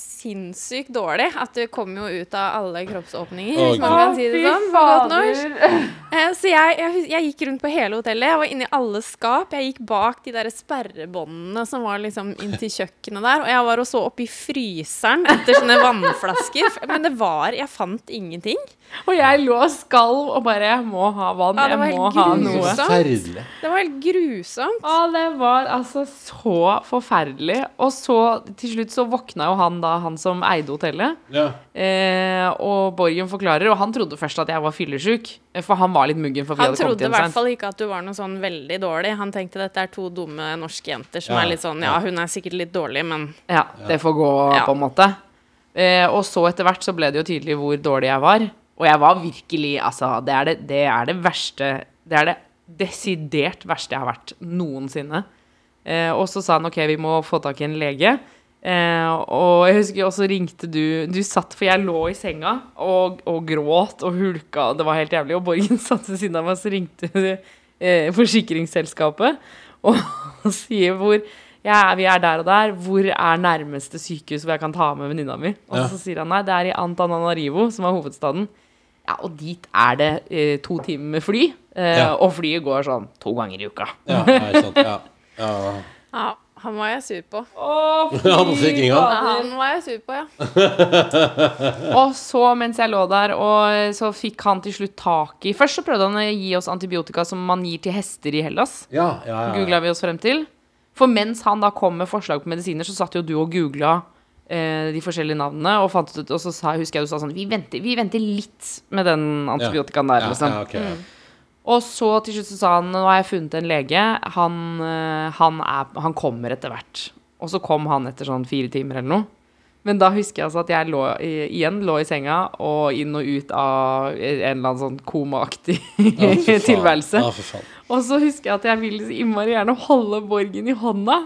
E: sinnssykt dårlig at du kom jo ut av alle kroppsåpninger,
C: Åh,
E: hvis man
C: Gud.
E: kan si det sånn. på godt norsk. Eh, Så jeg, jeg, hus- jeg gikk rundt på hele hotellet. Jeg var inne i alle skap. Jeg gikk bak de der sperrebåndene som var liksom inntil kjøkkenet der. Og jeg var også oppi fryseren etter sånne vannflasker. F- Men det var Jeg fant ingenting.
D: Og jeg lå og skalv og bare Jeg må ha vann,
E: Ja, det var
D: jeg må
E: helt
D: ha
E: grusomt.
D: noe.
C: Forferdelig.
E: Det var helt grusomt.
D: Å, det var altså så forferdelig. Og så til slutt så våkna jo han da, han som eide hotellet.
C: Ja.
D: Eh, og Borgen forklarer, og han trodde først at jeg var fyllesyk. eh, For han var litt muggen. For vi
E: Han
D: hadde kommet
E: trodde i
D: hjem
E: hvert
D: sent.
E: fall ikke at du var noe sånn veldig dårlig. Han tenkte dette er to dumme norske jenter som
C: Ja,
E: er litt sånn Ja, hun er sikkert litt dårlig, men
D: Ja, det får gå,
E: Ja.
D: på en måte. Eh, og så etter hvert så ble det jo tydelig hvor dårlig jeg var. Og jeg var virkelig Altså, det er det, det, er det verste Det er det desidert verste jeg har vært noensinne. Eh, og så sa han OK, vi må få tak i en lege. Eh, og jeg husker også ringte du Du satt, for jeg lå i senga og, og gråt og hulka, og det var helt jævlig. Og Borgen satt ved siden av meg, så ringte eh, forsikringsselskapet og, sier hvor ja, Vi er der og der. Hvor er nærmeste sykehus hvor jeg kan ta med venninna mi? Og
C: Ja.
D: så sier han nei, det er i Antananarivo, som er hovedstaden. Ja, og dit er det eh, to timer med fly, eh,
C: Ja.
D: og flyet går sånn to ganger i uka.
C: Ja, ja, ikke sant. Ja. Ja.
E: ja, han var jeg sur på.
C: Ja, på forsikringen.
E: Ja, han var jeg sur på, ja.
D: Og så mens jeg lå der, og så fikk han til slutt tak i Først så prøvde han å gi oss antibiotika som man gir til hester i Hellas.
C: Ja, ja, ja.
D: Googla vi oss frem til. For mens han da kom med forslag på medisiner, så satt jo du og googla eh, de forskjellige navnene, og fant ut Og så sa, husker jeg du sa sånn Vi venter, vi venter litt med den antibiotikaen der,
C: Ja,
D: liksom.
C: ja, ok, ja.
D: Og så til slutt så sa han Nå har jeg funnet en lege Han, eh, han, er, han kommer etter hvert Og så kom han etter sånn fire timer eller noe men da husker jeg altså at jeg lå, i- igjen lå i senga og inn og ut av en eller annen sånn komaaktig
C: Ja, for faen.
D: tilværelse.
C: Ja, for faen.
D: Og så husker jeg at jeg ville så innmari gjerne holde Borgen i hånda.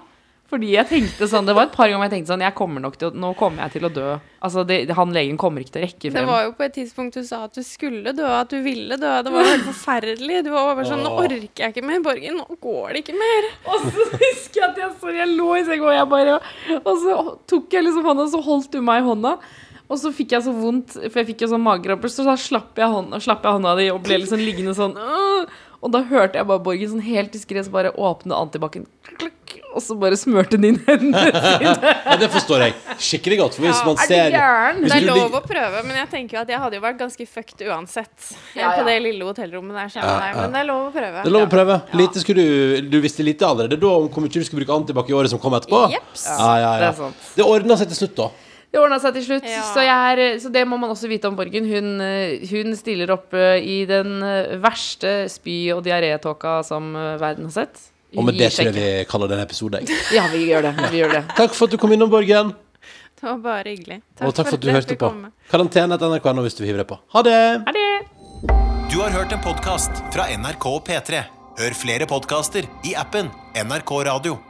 D: Fordi jeg tenkte sånn, Det var et par ganger jeg tenkte sånn jeg kommer nok til å, Nå kommer jeg til å dø. Altså, det, Han legen kommer ikke til å rekke
E: Det
D: frem.
E: var jo på et tidspunkt du sa at du skulle dø, at du ville dø. Det var jo helt forferdelig. Du var bare sånn Nå
C: Åh.
E: orker jeg ikke mer, Borgen. Nå går det ikke mer.
D: Og så husker jeg at jeg, sorry, jeg lå i senga, og jeg bare Og så tok jeg liksom hånda, og så holdt du meg i hånda. Og så fikk jeg så vondt, for jeg fikk jo sånn magekramper, så da slapp jeg hånda, slapp jeg hånda di og ble liksom liggende sånn «Åh!» Og da hørte jeg bare Borgen sånn helt diskret så bare åpne antibac-en. Klakk. og så bare smurte den inn hendene sine.
C: Ja, det forstår jeg skikkelig godt. For hvis
E: Ja,
C: man
D: er du
C: ser
D: gæren?
C: hvis
E: Det er
C: du
E: lov
C: ligger-
E: å prøve, men jeg tenker jo at jeg hadde jo vært ganske fucked uansett. eh,
D: Ja, ja.
E: På det lille hotellrommet der. Så jeg var der, men det er lov å prøve.
C: Det er lov å prøve.
E: Ja.
C: Lite skulle du, du visste lite allerede da om hvor mye du skulle bruke antibac i året som kom etterpå.
E: Jeps.
C: Ja, ja, ja.
D: Det er sant.
C: Det ordna seg til slutt, da.
D: Det ordna seg til slutt,
E: Ja.
D: så, jeg er, så det må man også vite om Borgen. Hun, eh, hun stiller opp eh, i den eh, verste spy- og diarétåka som eh, verden har sett.
C: Og med
D: Gi
C: det tror jeg
D: sjekk.
C: vi kaller det en episode. jeg.
D: Ja, vi gjør det. Vi gjør det.
C: Takk for at du kom innom, Borgen.
E: Det var bare hyggelig.
C: Og takk for at du
E: jeg
C: hørte
E: fikk
C: på.
E: komme.
C: Karantene etter NRK nå hvis du hiver deg på. Ha det!
D: Er det?
A: Du har hørt en podkast fra NRK P3. Hør flere podkaster i appen NRK Radio.